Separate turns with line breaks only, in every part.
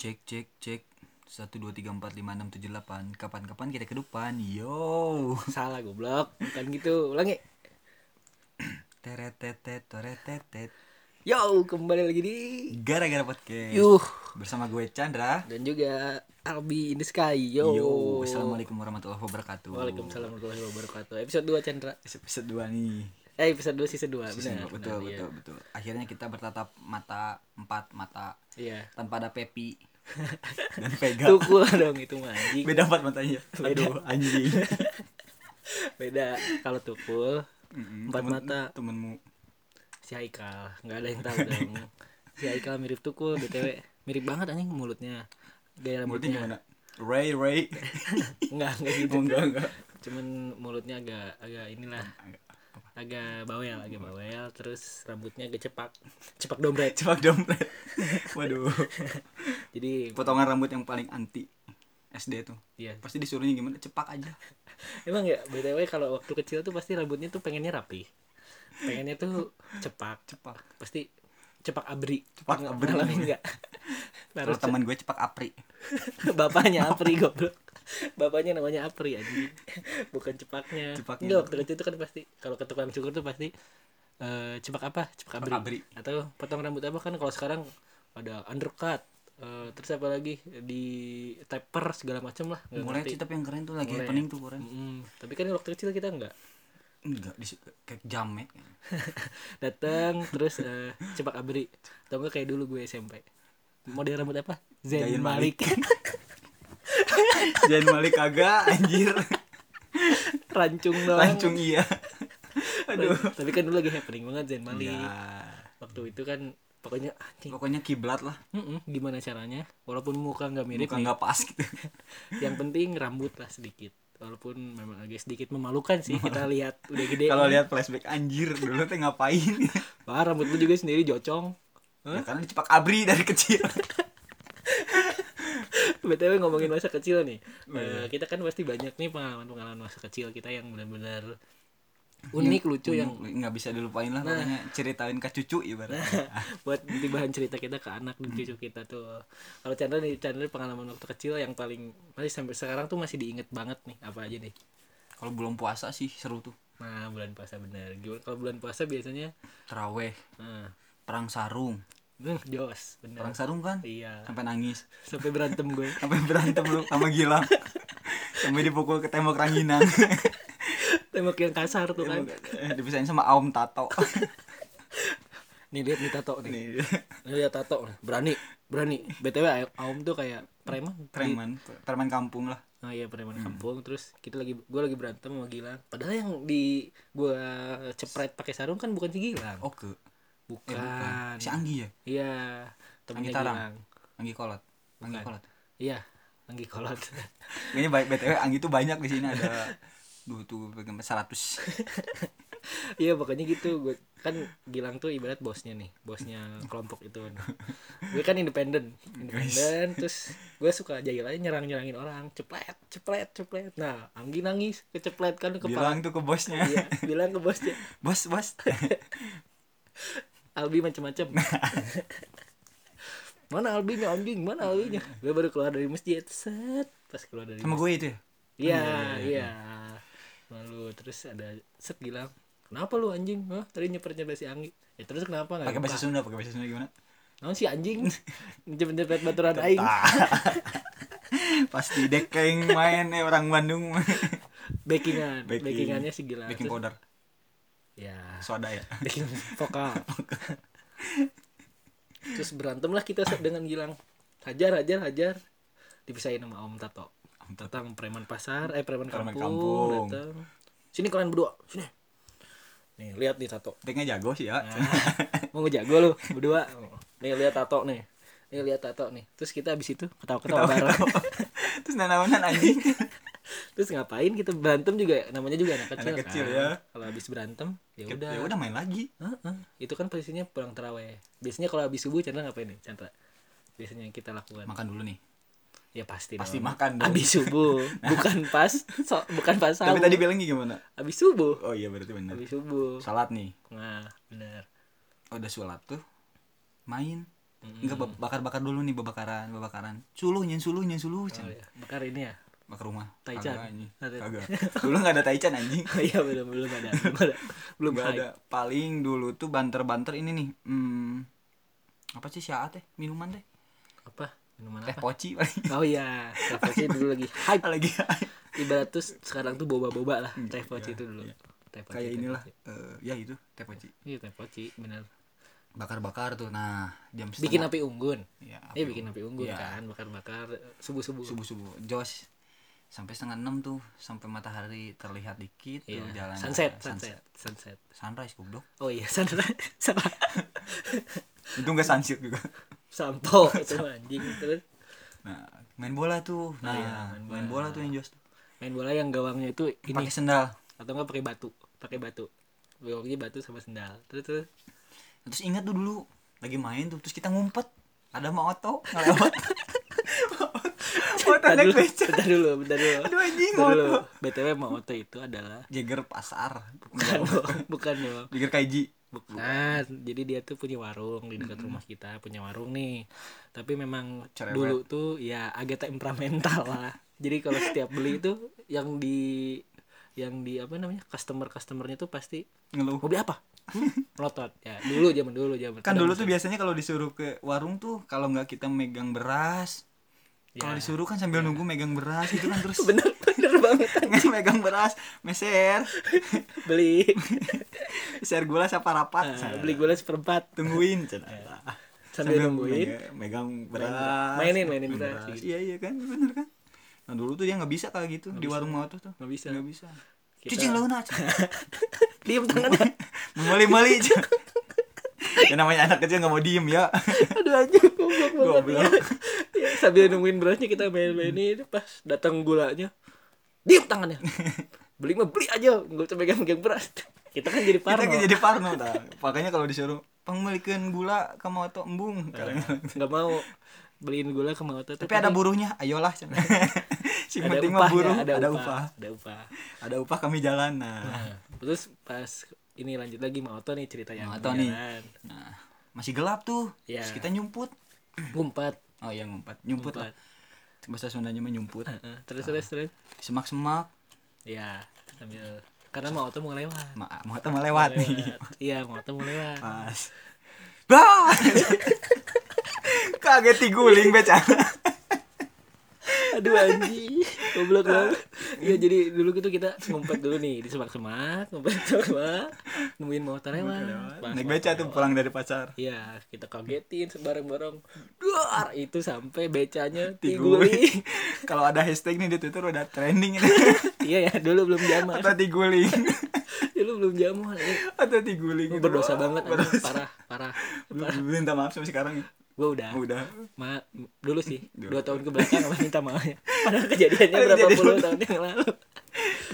Cek cek cek 1 2 3 4 5 6 7 8 Kapan-kapan kita ke depan Yo
Salah goblok, bukan gitu. Ulangi.
Teretetet teretetet
Yo, kembali lagi di
Gara-gara podcast
Yuh
Bersama gue Chandra
dan juga Albi in the Sky. Yo.
Yo Assalamualaikum warahmatullahi wabarakatuh
Waalaikum warahmatullahi wabarakatuh. Episode 2 Chandra.
Episode 2 nih
Eh, episode iya. 2 season 2.
Season
Benar.
dua. Betul
benar,
betul betul Akhirnya kita bertatap mata Empat mata
Iya.
Tanpa ada Pepi Dan
Iya.
Vega
Tukul dong itu mah anjing.
Beda empat matanya Aduh anjing
Beda kalau tukul
Mm-mm,
Empat
temen-
mata.
Temenmu
si Haikal, nggak ada yang tahu dong. Si Haikal mirip tukul BTW. Mirip banget anjing mulutnya. Gaya
Mulutnya
rambutnya.
gimana? Ray Ray
Enggak, enggak gitu.
Oh, Enggak enggak
Cuman mulutnya agak agak inilah agak bawel agak bawel terus rambutnya agak cepak cepak dompet
Cepak dompet Waduh
jadi
Potongan rambut yang paling anti SD tuh
iya
Pasti disuruhnya gimana Cepak aja
emang ya btw kalau waktu kecil tuh pasti rambutnya tuh pengennya rapi pengennya tuh cepak
Cepak
pasti cepak abri
Cepak abri.
enggak
Kalau
harus
teman gue cepak apri
bapaknya apri goblok bapaknya namanya apri anjing bukan cepaknya
Cepaknya.
enggak waktu kecil tuh kan pasti kalau ke tukang cukur tuh pasti eh, cepak apa cepak abri.
abri.
atau potong rambut apa kan kalau sekarang ada undercut eh, terus apa lagi di taper segala macam lah nggak
Mulai
ngerti.
sih tapi yang keren tuh lagi
Mulai.
happening tuh keren
Mm-mm. tapi kan waktu kecil kita enggak
Enggak di kayak jamet
datang terus eh, cepak abri atau enggak kayak dulu gue SMP model rambut apa Zain
Zain
Malik,
Jangan balik kagak anjir
rancung doang
Lancung iya Aduh
tapi kan dulu lagi happening banget Zain Malik
Ya,
waktu itu kan pokoknya anjing
Pokoknya kiblat lah
mm-mm, gimana caranya walaupun muka nggak mirip
Muka
nih,
nggak pas gitu
yang penting rambut lah sedikit walaupun memang agak sedikit memalukan sih kita lihat udah gede
Kalau lihat flashback anjir Dulu teh ngapain
Wah rambut lu juga sendiri jocong
Ya karena dicepak abri dari kecil
BTW ngomongin masa kecil nih
Oh, iya.
Eh, Kita kan pasti banyak nih pengalaman-pengalaman masa kecil kita yang benar-benar Unik, lucu yang Nah.
nggak bisa dilupain lah pokoknya ceritain ke cucu ibaratnya
buat di bahan cerita kita ke anak dan cucu kita tuh Kalau Chandra nih, Chandra pengalaman waktu kecil yang paling Masih sampai sekarang tuh masih diinget banget nih Apa aja nih
kalau belum puasa sih seru tuh
Nah bulan puasa bener Gimana kalau bulan puasa biasanya
teraweh
Nah
perang sarung
eh, Jos bener
perang sarung kan
Iya
sampai nangis
Sampai berantem gue
sampai berantem lu sama Gilang sampai dipukul ke tembok ranginang
Tembok yang kasar tuh kan
Eh, dipisahin sama Aum Tato
Nih lihat nih tato nih
Nih,
Lu lihat tato nih, berani, berani. BTW Aom tuh kayak preman.
preman preman kampung lah
Oh iya preman kampung terus kita lagi gua lagi berantem sama Gilang. Padahal yang di gua cepret pakai sarung kan bukan si Gilang.
oke Eh, bukan.
bukan.
si Anggi ya
Iya,
Anggi
temennya
Tarang.
Gilang.
Anggi Kolot Anggi Kolot
Iya, Anggi Kolot.
ini baik btw Anggi tuh banyak di sini ada dua tuh bagaimana seratus
Iya, pokoknya gitu. Gua kan Gilang tuh ibarat bosnya nih, bosnya kelompok itu. gue kan independen, independen terus gue suka jahil aja nyerang-nyerangin orang, ceplet, ceplet, ceplet. Nah, Anggi nangis, keceplet kan kepala.
Gilang tuh ke bosnya
Iya, bilang ke bosnya.
bos bos
Albi macam-macam. mana Albinya anjing, mana Albinya? Gue baru keluar dari masjid, set. Pas keluar dari
sama gue itu ya
Iya, iya. Lalu terus ada set bilang, "Kenapa lu anjing? Hah, tadi nyepet-nyepet si Anggi." Ya terus kenapa enggak?
pakai bahasa Sunda pakai bahasa Sunda gimana
Naon si anjing? Nyepet-nyepet baturan aing.
Tah. pasti dekeng main eh orang Bandung
Backingan,
Backing.
backingannya si Gilang.
baking
Terus-
powder
Ya,
soda ya
backing vokal. terus berantem lah kita set dengan Gilang. Hajar, hajar, hajar. Dipisahin sama Om Tato. tentang preman pasar eh preman
Preman kampung.
kampung, datang sini kalian berdua sini nih lihat nih tato
dekengnya jago sih
Nah.
ya
mau ngejago lu berdua nih lihat tato nih nih lihat tato nih terus kita abis itu ketawa ketawa bareng
terus nanawanan anjing
Ya terus ngapain kita berantem juga namanya juga anak kecil,
Anak kecil,
kan?
ya.
kalau abis berantem ya
ya
udah
udah main lagi
Heeh. itu kan posisinya pulang terawih biasanya kalau abis subuh Chandra ngapain nih Chandra biasanya yang kita lakukan
makan dulu nih
ya pasti
pasti
dong.
makan dong Nah.
abis subuh bukan pas so- bukan pas
tapi
sahur
tadi bilangnya gimana
abis subuh
oh iya berarti benar
abis subuh
salat nih Oh,
Nah, bener.
udah sholat tuh main Enggak bakar-bakar dulu nih babakaran, babakaran. Suluh nyen suluh nyen suluh.
Oh,
Can.
iya. Bakar ini ya.
Bakar rumah.
Taichan.
Kagak anjing.
Ada.
Kagak. Dulu enggak ada taichan anjing.
Oh, iya belum belum ada. Belum ada. Belum
Enggak
hype.
ada. Paling dulu tuh banter-banter ini nih. Hmm, apa sih syaat teh? Minuman teh.
Apa? Minuman
Teh
apa?
poci paling.
Oh iya, teh poci dulu lagi hype.
Lagi
Ibarat tuh sekarang tuh boba-boba lah teh poci itu dulu. Teh
Hmm, iya,
poci.
kayak
teh
inilah
poci.
eh, ya itu teh poci.
Iya teh poci bener.
Bakar-bakar tuh. Nah, jam
Bikin
setengah
api unggun.
Iya,
Iya bikin api unggun
Iya.
kan, bakar-bakar eh, subuh-subuh.
subuh-subuh. Jos sampai setengah enam tuh sampai matahari terlihat dikit tuh
Iya.
jalan ya.
Sunset, sunset, sunset.
sunrise goblok
Oh iya, sunset. Salah.
itu enggak sunset juga
Sampo itu anjing terus
nah main bola tuh nah
iya, main
main,
bola.
bola. tuh yang jos tuh.
main bola yang gawangnya itu ini
pakai sendal
atau enggak pakai batu, pakai batu. Gawangnya batu sama sendal. Terus terus
terus ingat tuh dulu lagi main tuh terus kita ngumpet ada mau oto ngelewat Oto
Bentar
naik
dulu,
beca
bentar dulu, bentar dulu.
Aduh, anjing,
Bentar dulu.
Moto.
BTW Moto itu adalah
Jager pasar
bukan dong, bukan ya, dong.
Jager kaiji
Bukan. Oh. Nah, Jadi dia tuh punya warung di dekat rumah kita, punya warung nih. Tapi memang
Cerewet.
dulu tuh ya agak temperamental lah. Jadi kalau setiap beli itu yang di yang di apa namanya customer-customernya tuh pasti
ngeluh
mau beli apa? Hmm, melotot ya dulu zaman dulu zaman
kan
Ada
dulu
musim-
tuh biasanya kalau disuruh ke warung tuh kalau nggak kita megang beras kalau
Ya.
disuruh kan sambil nunggu megang beras gitu kan terus
bener bener banget
kan? megang beras meser
beli
share gula siapa rapat
Nah,
Cenah.
beli gula seperempat
tungguin Cenah.
Sambil
mega-
nungguin.
megang
Main
beras
beras. Mainin, mainin
Main
beras, gitu.
iya iya kan bener kan nah dulu tuh dia nggak bisa kayak gitu di warung mawar tuh
Nggak bisa.
nggak bisa
Kita-
cicing launa
diem tangannya
meli meli ya namanya anak kecil nggak mau diem ya
aduh anjing goblok banget
Goblok.
ya. Ya, sambil nungguin berasnya kita main-main ini pas datang gulanya diem tangannya beli mah beli aja nggak usah megang-megang beras kita kan jadi
kita
parno
kan jadi parno tah makanya kalau disuruh pengbalikan gula ke moto
Iya.
embung kadang-kadang.
nggak mau beliin gula ke Maoto tuh
tapi ada buruhnya ayolah Cenah. sing
ada
penting
upahnya,
mah buruh
ada,
ada
upah,
upah
ada upah
ada upah kami jalan nah
Nah, terus pas ini lanjut lagi Maoto nih cerita yang
Maoto nih. Nah, masih gelap tuh.
Iya.
Terus kita nyumput.
empat
Oh iya ngumpet, nyumput lah. Bahasa Sundanya mah nyumput.
terus terus terus
Semak-semak,
ya sambil karena Maoto mau lewat
ma mau atau mau lewat nih.
Lewat. iya Maoto mau lewat
Pas. Bah! Kaget tiguling becana.
Aduh anjing, goblok
Ah.
banget. Ya jadi dulu gitu kita ngumpet dulu nih di semak-semak, ngumpet di semak-semak, nemuin motor lewat. Pas
Naik
motor-
beca tuh pulang dari pasar.
Iya, kita kagetin bareng-bareng. Duar itu sampai becanya
Tiguling.
tiguling.
Kalau ada hashtag nih di Twitter udah trending ini.
iya ya, dulu belum zaman.
Atau tiguling.
Dulu belum zaman. Ini
Atau tiguling.
gua berdosa banget anjing.
Berdosa.
parah, parah.
Lu- lu Minta maaf sama sekarang. ya.
Gue udah,
Udah.
ma dulu sih
Dulu.
dua tahun kebelakang apa minta maafnya. Padahal kejadiannya
Padahal
berapa
kejadian
puluh
dulu.
tahun yang lalu.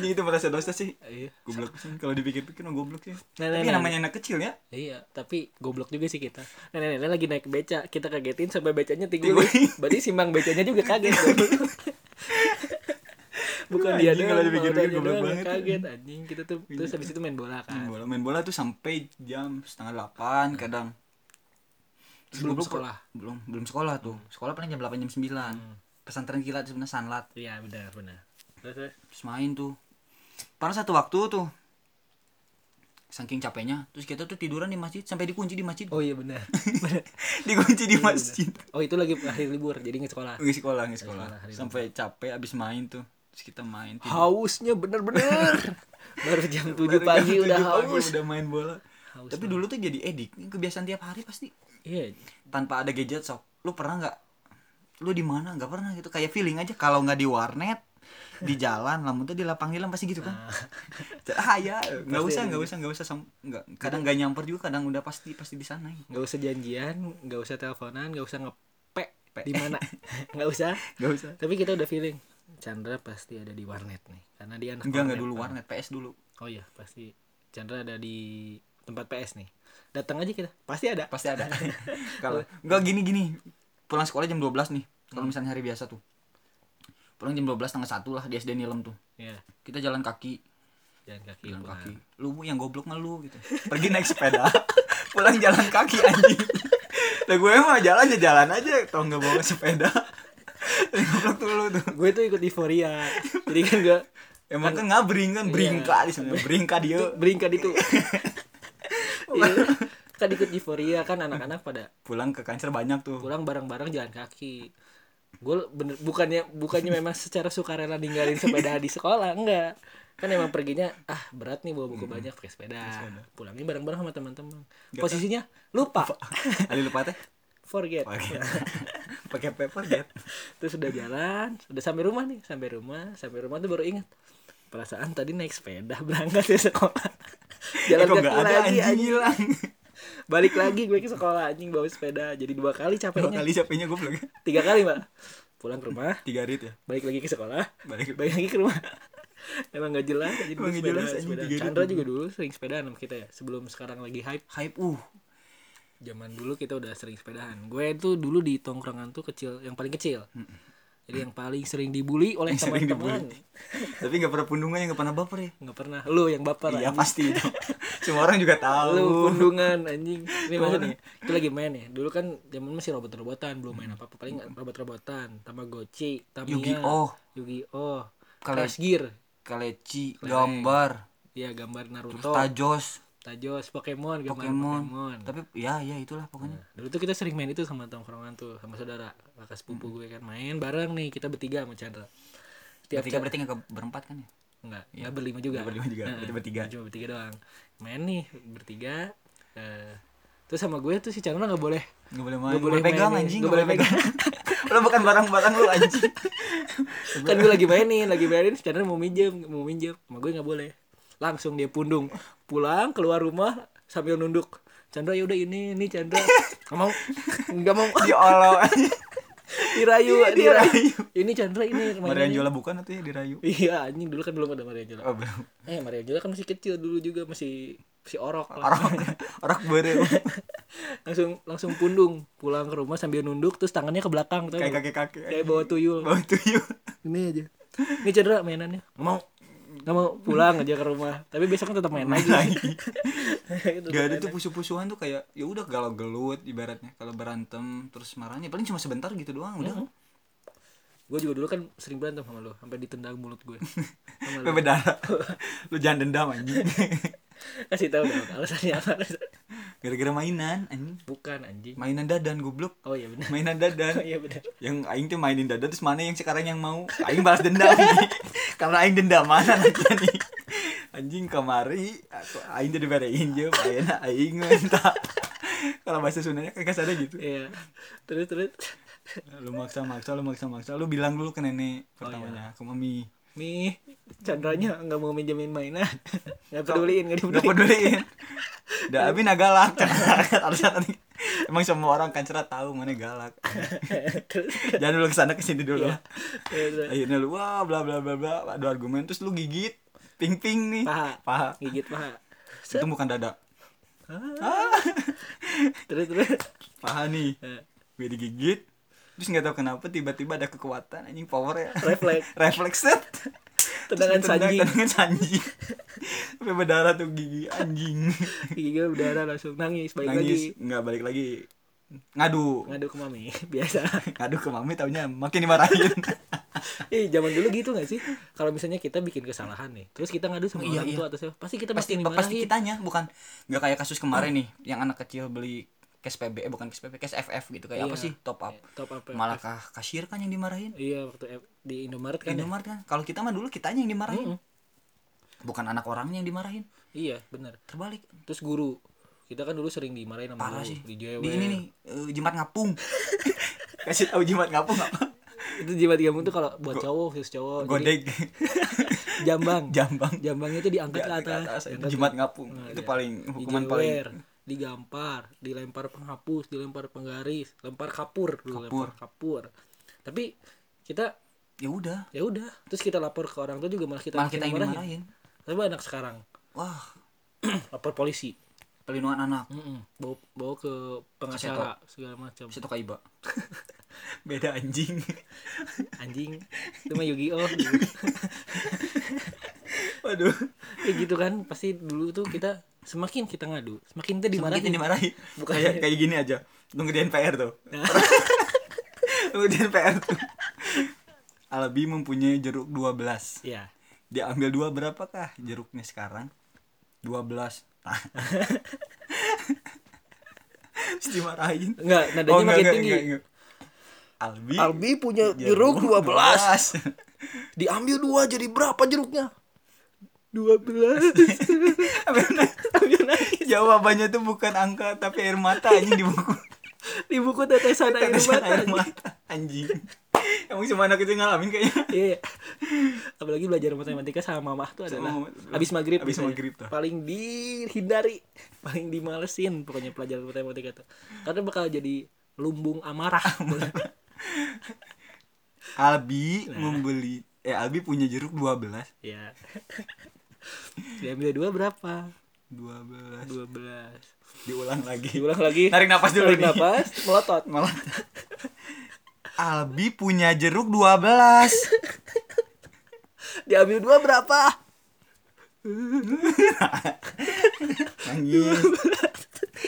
Ini itu merasa dosa sih.
Iya.
Goblok sih. Kalau dipikir-pikir mah goblok sih.
Nah, nah,
Tapi
nah.
namanya anak kecil ya.
Iya, tapi goblok juga sih kita. Nenek nenek lagi naik beca, kita kagetin sampai becanya tiguling.
Tiguling.
Berarti simbang becanya juga kaget. dong. Iya, Bukan dia
Anjing,
doang,
kalau dipikir-pikir
Maotanya
goblok
doang yang
banget. Iya.
Kaget anjing, kita tuh terus habis itu main bola
main
kan.
bola main bola tuh sampai jam setengah delapan kadang Terus
Belum
goblok,
sekolah. Hmm.
belum belum sekolah tuh sekolah paling jam delapan jam sembilan pesantren kilat sebenarnya sanlat
Iya, benar benar. Terus, terus.
terus main tuh Pernah satu waktu tuh saking capeknya terus kita tuh tiduran di masjid sampai dikunci di masjid
Oh iya benar. Benar.
dikunci di masjid
oh, itu lagi akhir libur, jadi nggak sekolah.
nggak sekolah nggak sekolah
sekolah, hari
sampai capek abis main tuh terus kita main tidur.
Hausnya bener-bener. Baru jam 7
Baru jam
pagi
7
udah
pagi
haus.
udah main bola
Haus
tapi dulu tuh jadi edik kebiasaan tiap hari pasti
Iya.
tanpa ada gadget sok lu pernah nggak lu di mana nggak pernah gitu kayak feeling aja kalau nggak di warnet di jalan lamun tuh di lapang hilang pasti gitu kan ah ya nggak
Pasti
usah
ada
nggak usah nggak usah sam- nggak kadang nggak nyamper juga kadang udah pasti pasti di sana ya.
Nggak usah janjian, nggak usah teleponan, nggak usah ngepek
Pe.
di mana. Nggak usah.
nggak usah
Tapi kita udah feeling Chandra pasti ada di warnet nih Karena dia anak
nggak nggak dulu warnet ah. PS dulu
Oh iya pasti Chandra ada di tempat PS nih Datang aja kita Pasti ada
pasti ada kalau nggak gini gini pulang sekolah jam 12 nih kalau misalnya hari biasa tuh pulang jam 12 tengah satu lah di SD Nilem tuh
Iya
kita jalan kaki
Jalan kaki
jalan
pulang.
kaki lu yang goblok mah lu gitu pergi naik sepeda pulang jalan kaki anjing Lah gue mah jalan aja jalan aja tau nggak bawa sepeda. Goblok tuh lu tuh.
gue tuh ikut euforia jadi kan gue
Emang kan ngabring kan bringka di sana. Bringka dia.
beringkat itu Iya. kan ikut euforia kan anak-anak pada
Pulang ke kancer banyak tuh.
pulang bareng-bareng jalan kaki gue bener bukannya bukannya memang secara sukarela ninggalin sepeda di sekolah enggak kan emang perginya ah berat nih bawa buku banyak pakai sepeda pulangnya bareng-bareng sama teman-teman posisinya lupa
Ali lupa teh.
forget
Pakai pakai paper jet.
terus udah jalan udah sampai rumah nih sampai rumah sampai rumah tuh baru ingat perasaan tadi naik sepeda berangkat ke sekolah
Eh,
jalan
kok
kaki
nggak ada anjing
lagi anjing.
hilang.
balik lagi gue ke sekolah anjing bawa sepeda jadi dua kali capeknya
Dua kali capeknya gue belum
tiga kali mbak pulang ke rumah
tiga rit ya.
balik lagi ke sekolah
Balik.
balik lagi ke rumah emang gak jelas jadi
Emang nggak
sepeda,
jelas, anjing,
sepeda.
tiga
Chandra juga dulu sering sepedaan sama kita ya sebelum sekarang lagi hype
Hype uh.
zaman dulu kita udah sering sepedaan gue tuh dulu di tongkrongan tuh kecil yang paling kecil jadi yang paling sering dibully oleh
Yang sering
teman-teman
Tapi nggak pernah pundungannya nggak pernah baper ya.
nggak pernah lu yang baper
Iya
anjing.
pasti itu. Semua orang juga
lu
tahu.
pundungan anjing ini maksudnya itu lagi main ya dulu kan zaman masih robot-robotan belum main apa-apa paling robot-robotan Tamagotchi Tamiya
Yu-Gi-Oh.
Yu-Gi-Oh
Kalau-
Crash Gear
Kaleci, gambar,
ya gambar Naruto
tajos,
Tajos Pokemon gambar
Pokemon.
Pokemon,
Tapi ya ya itulah pokoknya.
Nah, dulu tuh kita sering main itu sama tongkrongan tuh sama saudara kakak
Hmm.
sepupu gue kan main bareng nih kita bertiga sama Chandra tiap
Bertiga berarti nggak ke- berempat kan ya?
Enggak, enggak berlima juga.
Enggak berlima juga, berarti bertiga.
Cuma bertiga doang. Main nih bertiga. eh, terus sama gue tuh si Chandra nggak boleh.
Nggak boleh main.
Nggak
Nggak boleh
boleh
pegang
main,
anjing,
nggak
nggak boleh
boleh
pegang. Lo bukan barang-barang lu anjing.
kan gue lagi mainin, lagi mainin si Chandra mau minjem, mau minjem. Sama gue nggak boleh. Langsung dia pundung. Pulang keluar rumah sambil nunduk. Chandra ya udah ini, ini Chandra. Nggak mau. Nggak mau.
Diolo.
Dirayu,
Iya,
dirayu. Ini Chandra ini rumah
Marian
ini.
Jola bukan atau ya dirayu?
Iya, anjing dulu kan belum ada Maria Jola.
Oh, belum.
Eh, Maria Jola kan masih kecil dulu juga masih masih orok lah.
Orang orang bere.
langsung langsung pundung pulang ke rumah sambil nunduk terus tangannya ke belakang tau
Kayak
nggak?
kakek-kakek.
kayak bawa tuyul
Bau tuyul.
ini aja ini cedera mainannya nggak mau nggak mau pulang aja ke rumah tapi besoknya tetap main lagi Gitu.
Gak
Tetap
ada
main
tuh
lagi.
pusu-pusuan tuh kayak ya udah galau gelut ibaratnya kalau berantem terus marahnya paling cuma sebentar gitu doang udah.
gue juga dulu kan sering berantem sama lo sampai ditendang mulut gue sama lo
Bebe darah. Lu jangan dendam anjing.
kasih tahu dong alasannya apa
Gara-gara mainan anjing.
bukan anjing
Mainan dadan goblok.
oh iya benar
Mainan
oh
dadan.
iya benar
yang aing tuh mainin dada terus mana yang sekarang yang mau aing balas dendam nih. karena aing dendam mana nanti nih anjing kemari aku aing jadi berein jauh aing aing minta kalau bahasa Sundanya kayak kasar gitu
iya terus terus
lu maksa maksa lu maksa maksa lu bilang dulu ke nenek pertamanya ke mami
mi Chandranya nggak mau minjemin mainan nggak peduliin nggak
nggak peduliin
dipeduliin
udah abi nah galak harusnya tadi emang semua orang kan cerah tahu mana galak
terus
jangan dulu kesana kesini dulu
terus, terus.
akhirnya lu wah bla bla bla bla ada argumen terus lu gigit ping ping nih
Paha.
paha
gigit paha
itu bukan dada
Ah.
Ah.
terus terus
paha nih
Eh,
gue digigit terus nggak tahu kenapa tiba-tiba ada kekuatan anjing power ya
refleks
refleks set
Tendangan
Terus ditendang,
sanji.
tendangan sanji sampai berdarah tuh gigi anjing
gigi gue berdarah langsung nangis balik
nangis
lagi
nggak balik lagi ngadu
ngadu ke mami biasa
ngadu ke mami taunya makin dimarahin
eh zaman dulu gitu gak sih kalau misalnya kita bikin kesalahan nih terus kita ngadu
Oh,
sama
iya,
orang
iya.
tua atau siapa pasti kita
pasti
pasti Oh.
pasti
dimarahin.
kitanya bukan nggak kayak kasus kemarin nih yang anak kecil beli cash PB eh, bukan cash PB cash FF gitu kayak
Iya.
apa sih top up
top up ya.
malah kah- kasir kan yang dimarahin
iya waktu F- di Indomaret kan ya? Hmm,
Indomaret kan kalau kita mah dulu kitanya yang dimarahin bukan anak orangnya yang dimarahin
iya benar
terbalik
terus guru kita kan dulu sering dimarahin sama
parah
guru,
sih
di
di,
JW
ini nih eh, jimat ngapung kasih tahu jimat ngapung apa
itu jimat gabung tuh kalau buat cowok khusus cowok Oh, jadi
godek
jambang
jambang
jambangnya tuh diangkat ke
Diangkat ke
atas,
atas, itu
Diangkat
jimat ngapung itu
iya.
paling hukuman paling
dijewer, digampar, dilempar penghapus, dilempar penggaris, lempar kapur, dulu, lempar kapur. Tapi kita
ya udah
ya udah, terus kita lapor ke orang tua juga malah kita
malah kita yang dimarahin
dimarahin. Tapi anak sekarang
wah
lapor polisi,
pelindungan anak
Mm-mm. bawa, bawa ke pengacara segala macam.
situ kaiba beda anjing
Anjing, itu mah Yu-Gi-Oh.
waduh
ya gitu kan, pasti dulu tuh kita semakin kita ngadu semakin kita
Dimarahin.
dimarahin
dimarahin.
Bukan. Nah.
Kayak kayak gini aja. Lu ngerjain PR tuh. Lu ngerjain PR tuh. Alabi mempunyai jeruk 12.
ya
Dia ambil dua berapakah jeruknya sekarang? 12. Nah. Terus dimarahin. Oh,
Enggak, nadanya makin tinggi.
Albi,
Albi punya jeruk 12. Diambil dua jadi berapa jeruknya? 12.
12.
Ambil nangis.
Jawabannya tuh bukan angka tapi air mata anjing di buku.
Di buku tetesan air
Tetesan
mata.
air mata anjing. Emang cuma anak kecil ngalamin kayaknya.
Iya. Apalagi belajar matematika sama mamah tuh adalah
Sama mamah.
habis maghrib.
Abis
biasanya.
maghrib tuh.
Paling dihindari, paling dimalesin pokoknya pelajaran matematika tuh. Karena bakal jadi lumbung amarah.
Albi membeli eh Albi punya jeruk 12.
ya. Diambil dua berapa?
12.
12.
Diulang lagi.
Diulang lagi.
Tarik nafas dulu
Tarik
nih.
nafas, melotot.
Malah Albi punya jeruk 12.
Diambil dua berapa?
Anjing.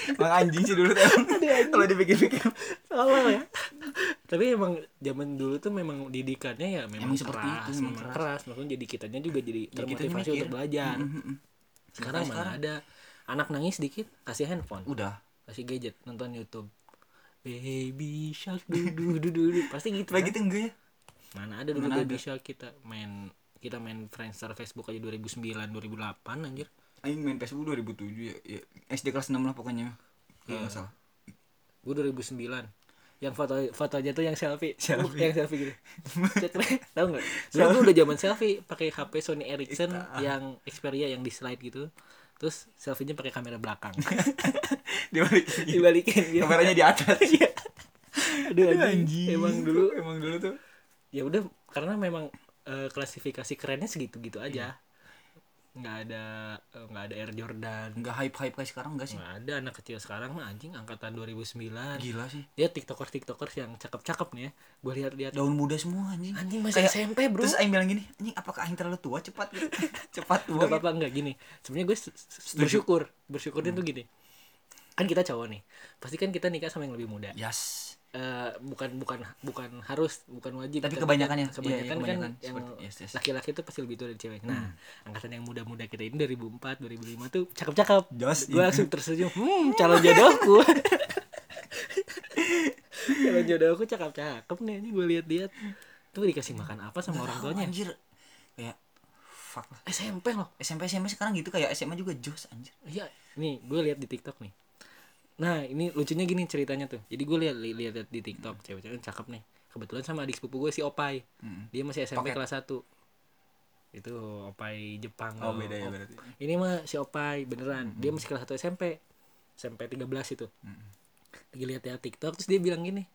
Emang anjing sih dulu tuh emang. Kalau dipikir-pikir
Salah ya. Tapi emang zaman dulu tuh memang didikannya ya memang,
Emang seperti
keras,
itu, memang
memang keras. Maksudnya jadi kitanya juga jadi termotivasi
mikir.
untuk belajar. mm-hmm. Sekarang
Makanya
mana ada anak nangis dikit kasih handphone,
udah.
kasih gadget, nonton YouTube. Baby shark du du du du, du. pasti gitu.
Coba
kan?
gitu enggak ya?
Mana ada dulu
Mana
baby shark kita main kita main Friendster Facebook aja 2009 2008 anjir.
Aing main Facebook 2007 ya, ya. SD kelas 6 lah pokoknya. Kalau nggak salah.
Gue 2009 yang foto fotonya tuh yang selfie, Uh, yang selfie gitu. Cekrek, tahu nggak? Dulu gue udah zaman selfie ah. pakai HP Sony Ericsson yang Xperia yang di slide gitu. Terus selfie-nya pakai kamera belakang.
Dibalik.
Dibalikin gitu.
Kameranya di atas.
Iya. Aduh anjing.
Anjing.
Emang dulu
iya, emang dulu tuh
ya udah karena memang eh, klasifikasi kerennya segitu-gitu aja. Nggak ada eh, nggak ada Air Jordan.
nggak hype-hype kayak sekarang enggak sih?
Nggak ada anak kecil sekarang mah anjing angkatan 2009.
Gila sih.
Dia TikToker-TikTokers Ya, yang cakep-cakep nih ya. Gue lihat-lihat
Daun muda semua anjing.
Anjing masih SMP, bro.
Terus aing bilang gini, anjing apakah aing terlalu tua cepat gitu. cepat tua. gitu.
Gak apa-apa enggak gini. Sebenarnya gue se- se- bersyukur. Bersyukurnya
Hmm.
tuh gini. Kan kita cowok nih. Pasti kan kita nikah sama yang lebih muda.
Gitu. Yes.
Eh, bukan bukan bukan harus, bukan wajib.
Tapi kebanyakan ya,
kebanyakan,
iya, iya, kebanyakan.
kan yang
Seperti- yes, Hmm. yes.
laki-laki tuh pasti lebih tua dari cewek. Nah, angkatan yang muda-muda kita ini 2004, 2005 tuh cakep-cakep.
Jos,
Gue
iya.
langsung tersenyum. Hmm, calon jodohku. calon jodohku cakep-cakep nih ini gue lihat-lihat. Tuh dikasih makan apa sama orang tuanya?
Anjir. Kayak fuck lah.
SMP loh.
SMP SMP sekarang gitu kayak SMA juga jos anjir.
Iya, nih gue lihat di TikTok nih. Nah, ini lucunya gini ceritanya tuh. Jadi gue lihat lihat lihat di
Hmm.
TikTok cewek-cewek cakep nih. Kebetulan sama adik sepupu gue si Opai. Dia masih SMP
Hmm. Pocket.
kelas 1. Itu Opai Jepang.
Oh,
loh.
beda ya
Op-
berarti. Hmm.
Ini mah si Opai beneran. Dia masih kelas 1 SMP. SMP 13 itu. Lagi lihat ya TikTok terus dia bilang gini.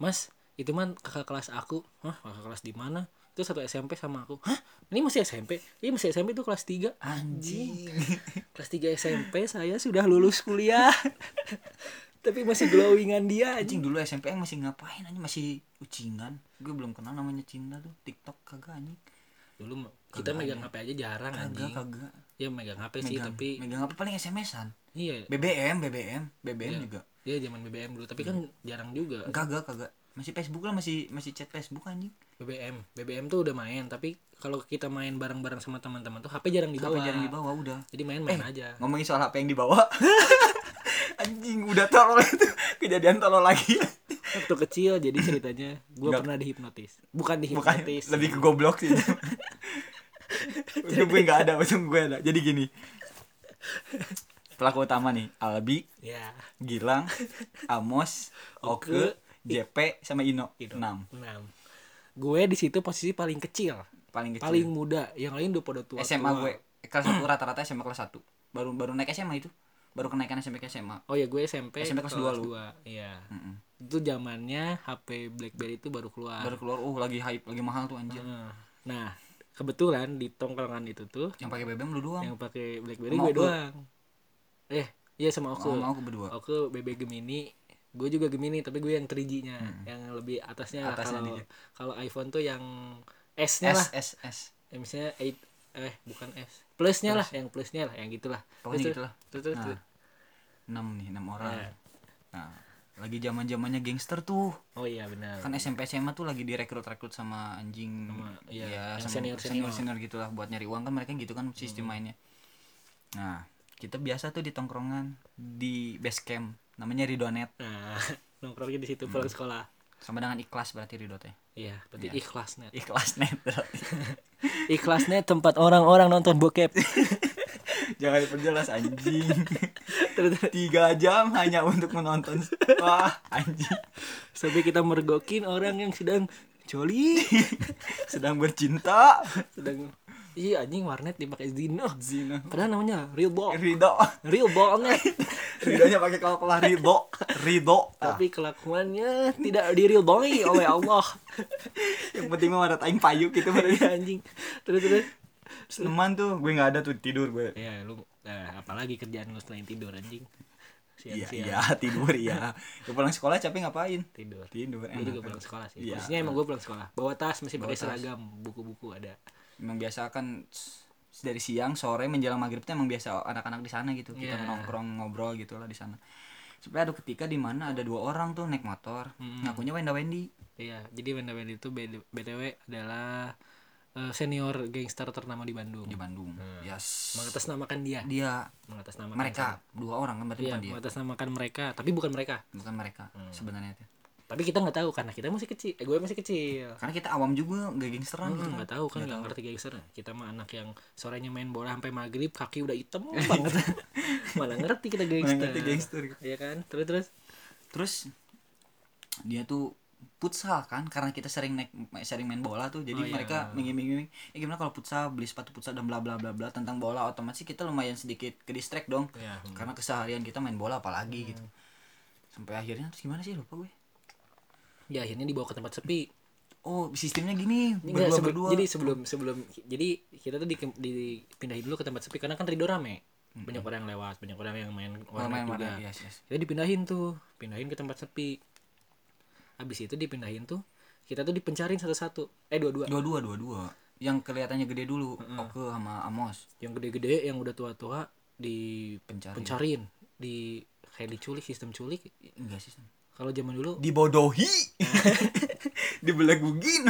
Mas, itu mah kakak kelas aku. Hah, kakak kelas di mana? Itu satu SMP sama aku. Hah, ini masih SMP? Iya masih SMP itu kelas 3.
Anjing.
Kelas 3 SMP saya sudah lulus kuliah. Tapi masih glowingan dia
Anjing
anjing.
dulu SMP yang masih ngapain anjing masih ucingan. Gue belum kenal namanya Cinta tuh. TikTok kagak anjing.
Dulu mah, kita megang HP aja jarang
ya. Kagak
anjing.
kagak.
Ya megang HP sih
Megang,
tapi
megang apa paling SMS-an.
iya
BBM, BBM, BBM juga.
dia zaman BBM dulu tapi kan
Iya.
jarang juga.
Kagak kagak. Masih Facebook lah masih masih chat Facebook anjing.
BBM, BBM tuh udah main tapi kalau kita main bareng-bareng sama teman-teman tuh HP jarang dibawa.
Apa jarang Eh. dibawa udah.
Jadi main-main aja.
Ngomongin soal HP yang dibawa. anjing udah tolol itu. Kejadian tolol lagi.
Waktu kecil jadi ceritanya gue pernah dihipnotis. Bukan
Bukan
dihipnotis.
lebih ke goblok sih. Untung gue nggak ada, untung gue ada. Jadi gini. Pelaku utama nih, Albi,
Ya.
Gilang, Amos, Oke, JP sama Ino.
Gitu.
6.
Enam. Gue di situ posisi paling kecil,
Paling kecil.
paling muda, yang lain udah pada tua.
SMA gue kelas 1 rata-rata SMA kelas 1. Baru baru naik SMA itu. Baru kenaikan SMP ke SMA.
Oh ya gue SMP,
SMP kelas dua lu.
dua, Iya. Itu zamannya HP BlackBerry itu baru keluar.
Baru keluar uh lagi hype, lagi mahal tuh anjir.
Nah, Nah, kebetulan di tongkrongan itu tuh
Yang pakai BBM lu doang.
yang pakai BlackBerry
Sama
gue
Oke.
doang. Eh, iya sama aku.
Sama aku berdua.
Aku BB Gemini, gue juga Gemini tapi gue yang 3G-nya, yang lebih atasnya. lah.
Atasnya
Kalau
dikit.
kalau iPhone tuh yang
S
S-nya Ya lah.
S S.
Ya, misalnya 8 eh bukan S plusnya lah yang plusnya lah yang gitulah
Pokoknya
Terus-
gitulah.
terus terus,
Nah,
terus.
enam nih, enam orang.
Iya.
Nah, lagi zaman zamannya gangster tuh.
oh iya benar
Kan SMP SMA tuh lagi direkrut-rekrut sama anjing
Sama, iya, yang
sama
senior-senior. Hmm.
senior-senior gitulah buat nyari uang kan mereka gitu kan sistem mainnya. Nah, kita biasa tuh di tongkrongan di base camp namanya Ridonet
nah nongkrongnya di situ pulang sekolah
sama dengan ikhlas berarti Ridotnya.
Hmm. iya berarti
Iya.
ikhlasnya
Ikhlas net berarti.
ikhlasnya tempat orang-orang nonton bokep
Jangan diperjelas anjing.
Terus- terus.
Tiga jam hanya untuk menonton. Wah, anjing.
sampai kita mergokin orang yang sedang
Joli sedang bercinta.
sedang Ih anjing warnet dipakai Zino
Zina.
Padahal namanya real ball
Ridho.
Real ballnya
Ridhonya pakai kalkulah Ridho. Ridho. Ah,
Tapi kelakuannya tidak di real boy oleh Allah
yang penting mah ada taing payung gitu berarti.
Iya, anjing Terus terus
Seneman tuh gue nggak ada tuh tidur gue.
Ya lu nah, apalagi kerjaan lu selain tidur anjing
Iya,
Siang-siang
iya, tidur iya. Gue pulang sekolah capek ngapain?
tidur
Tidur.
Gue juga
Enak.
pulang sekolah sih
Iya.
Posisinya emang gue pulang sekolah Nah, Bawa tas masih pakai
Bawa tas.
seragam Buku-buku ada
Emang biasa kan s- dari siang sore menjelang maghrib tuh emang biasa anak-anak di sana gitu. Kita
Iya.
nongkrong ngobrol gitu lah di sana. Sampai ada ketika di mana ada dua orang tuh naik motor.
Hmm.
Ngakunya Wenda Wendy.
Iya jadi Wenda Wenda itu BD BTW adalah eh, Senior gangster ternama di Bandung
di Bandung. Yes.
Mengatasnamakan dia
Dia
Mengatasnamakan
mereka dua orang kan berarti
Iya,
bukan dia.
mengatasnamakan mereka, tapi bukan mereka.
Bukan mereka sebenarnya itu.
Tapi kita nggak tahu karena kita masih kecil. Eh, gue masih kecil.
Karena kita awam juga nggak gangsteran gitu.
Hmm, nggak tahu kan nggak ngerti gangster. Kita mah anak yang sorenya main bola sampai maghrib, kaki udah hitam banget. Mana ngerti kita gangster.
Mana ngerti gangster.
Iya kan? Terus terus.
Terus dia tuh futsal kan karena kita sering naik sering main bola tuh jadi
Oh, iya.
mereka mengiming-iming eh gimana kalau futsal beli sepatu futsal dan bla bla bla bla tentang bola otomatis kita lumayan sedikit ke distract dong
Iya, hmm.
karena keseharian kita main bola apalagi gitu sampai akhirnya terus gimana sih lupa gue
Ya akhirnya dibawa ke tempat sepi.
oh sistemnya gini
Nggak,
berdua
sebe-
berdua
Jadi sebelum sebelum jadi kita tuh di, dipindahin dulu ke tempat sepi karena kan Ridho rame. Banyak orang yang lewat, banyak orang yang main
Kalau
warnet
Oh, main iya.
juga.
warnet, yes, yes.
Kita dipindahin tuh, pindahin ke tempat sepi. Habis itu dipindahin tuh, kita tuh dipencarin satu-satu. Eh dua-dua.
dua-dua dua-dua yang kelihatannya gede dulu
Hmm.
Oke sama Amos
Yang gede-gede, yang udah tua-tua dipencarin,
Pencarin.
di kayak diculik, sistem culik.
enggak sih Sam.
Kalau zaman dulu,
dibodohi dibelagugin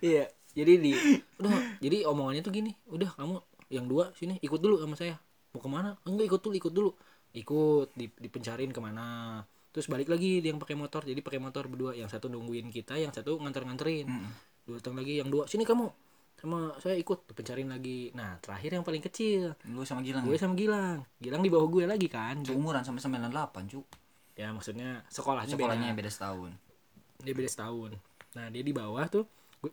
iya. Jadi di, udah, jadi omongannya tuh gini, udah kamu yang dua sini ikut dulu sama saya. Mau kemana? Enggak ikut dulu, ikut dulu. Ikut, di- dipencarin kemana? Terus balik lagi yang pakai motor, jadi pakai motor berdua. Yang satu nungguin kita, yang satu nganter-nganterin. dua datang lagi yang dua sini kamu sama saya ikut dipencarin lagi nah terakhir yang paling kecil
lu sama Gilang
gue sama Gilang Gilang di bawah gue lagi kan
seumuran sama 98 cu
ya maksudnya sekolahnya,
sekolahnya
beda.
beda setahun
dia beda setahun nah dia di bawah tuh gue,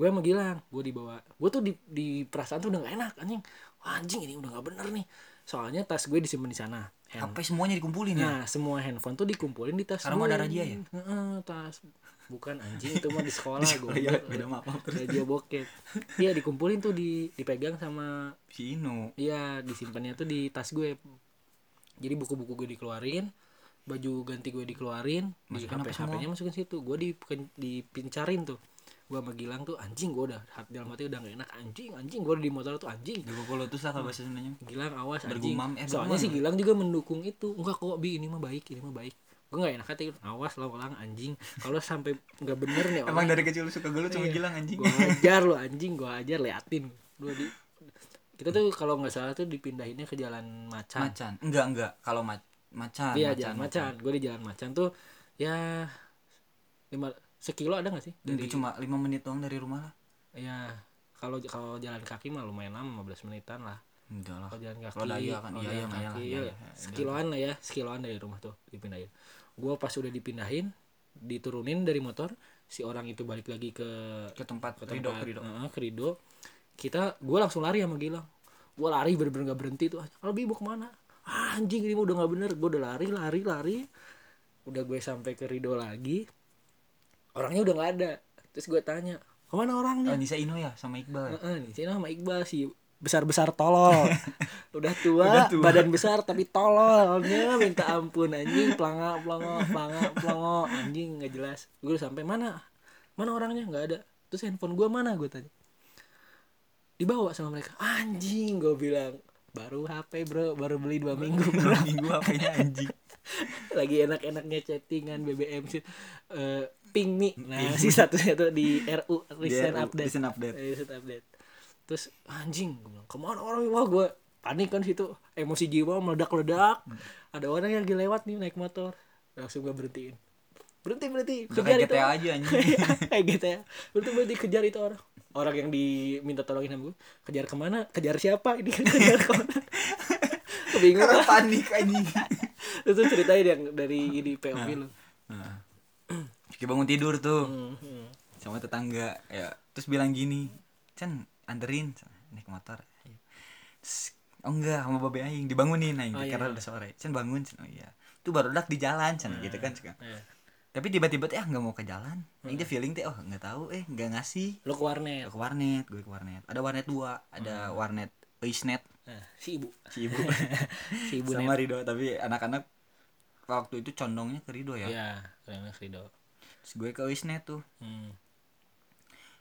gue sama Gilang gue di bawah gue tuh di, di perasaan tuh udah gak enak anjing Wah, anjing ini udah gak bener nih soalnya tas gue disimpan di sana Hand-
HP semuanya dikumpulin ya
Nah, semua handphone tuh dikumpulin di tas
Karena
gue.
mau ada razia ya?
Heeh, tas. Bukan anjing itu mah di sekolah gue.
ya, beda maaf, maaf.
Razia bokep. Iya, dikumpulin tuh di dipegang sama
si Inu
iya disimpannya tuh di tas gue. Jadi buku-buku gue dikeluarin, baju ganti gue dikeluarin,
Masukin
di
apa semua?
HP-nya masukin situ. Gue dipen- dipincarin tuh. Gue sama Gilang tuh anjing gue udah hat- dalam hati udah gak enak anjing anjing gue di motor tuh anjing
dipukul letus lah kalau bahasa Sundanya
Gilang awas anjing.
Bergumam, eh, bergumam.
Soalnya si Gilang juga mendukung itu. Enggak kok Bi ini mah baik, ini mah baik. Gue gak enak hati awas lo orang anjing. Kalau sampai nggak bener nih
emang
orang.
dari kecil lu suka gelut
Iya.
sama Gilang anjing
Gue ajar lo anjing, gue ajar liatin. Lu di kita tuh kalau nggak salah tuh dipindahinnya ke jalan macan.
macan enggak enggak kalau ma- macan
Iya jalan macan. Gue di jalan macan tuh ya lima sekilo ada nggak sih?
Dari... cuma 5 menit doang dari rumah lah
Ya kalau kalau jalan kaki mah lumayan lama 15 menitan lah.
enggak lah
kalau Oh, jalan kaki
kalau daya kan
kalau
iya iya
jalan
iya lah
kaki,
iya,
ya,
iya.
sekiloan lah ya sekiloan dari rumah tuh dipindahin gua pas udah dipindahin diturunin dari motor si orang itu balik lagi ke
ke tempat
ke
Ridho
tempat-
Ridho
Heeh, ke Rido. kita gua langsung lari sama Gilang gua lari bener-bener gak berhenti tuh Albi mau kemana ah, anjing ini mah udah gak bener gua udah lari lari lari udah gue sampai ke Rido lagi orangnya udah gak ada terus gue tanya kemana orangnya
Oh, Nisa Inu ya sama Iqbal.
Heeh, nih, Cina sama Iqbal sih besar-besar tolol. Udah tua,
Udah tua.
badan besar tapi tololnya minta ampun anjing, pelanga pelongo, pelanga pelongo, anjing nggak jelas. Gue udah sampai mana? Mana orangnya? nggak ada. Terus handphone gue mana? Gue tanya. dibawa sama mereka anjing gue bilang baru HP bro baru beli dua minggu
Dua minggu HP-nya ya, anjing.
lagi enak-enaknya chattingan BBM sih Eh, ping me nah si satunya tuh di RU recent
Dia
update
Recent update.
Eh, recent update terus anjing gue bilang kemana orang wah gue panik kan situ emosi jiwa meledak-ledak
Hmm.
ada orang yang lagi lewat nih naik motor langsung gue berhentiin berhenti berhenti
Udah kayak
itu
GTA aja anjing.
kayak gitu ya berarti berarti kejar itu orang orang yang diminta tolongin sama gue kejar kemana kejar siapa ini kan kejar kemana
Karena
kebingungan
panik anjing.
itu tuh ceritanya yang dari ini POV lu
Nah. Cuki bangun tidur tuh
Hmm, hmm.
sama tetangga ya terus bilang gini Chan anterin naik motor Iya. Terus, oh enggak sama babe aing dibangunin aing
Oh, iya,
karena
iya.
udah sore Chan bangun Chan oh iya tuh baru dak di jalan Chan gitu kan Chan.
Nah,
tapi tiba-tiba teh ah, nggak mau ke jalan aing teh feeling teh oh nggak tahu eh nggak ngasih
lu ke warnet
ke warnet gue ke warnet ada warnet dua ada
Hmm.
warnet Isnet
Nah, si ibu
si ibu
si ibu
sama Ridho tapi anak-anak waktu itu condongnya ke Ridho ya
ya keren banget, Rido
terus gue ke Isnet tuh
Hmm.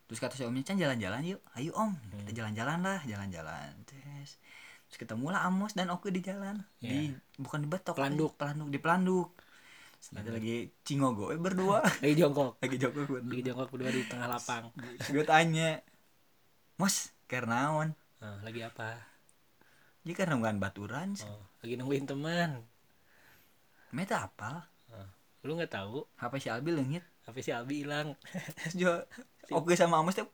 terus kata si omnya Can jalan-jalan yuk ayo om
Hmm.
kita jalan-jalan lah jalan-jalan terus terus ketemu lah Amos dan Oke di jalan di bukan di betok
Iya. Pelanduk.
pelanduk di pelanduk Terus nanti lagi cingogo eh berdua
lagi jongkok
lagi joko gue
lagi jongkok berdua di tengah lapang
terus gue tanya Mas karena naon
Nah, lagi apa
jadi karena bukan baturan sih.
Oh, lagi nungguin teman
meta apa
Nah, lu nggak tahu
HP si Albi lengit
tapi si Abi hilang
terus jo Oke sama Amos tuh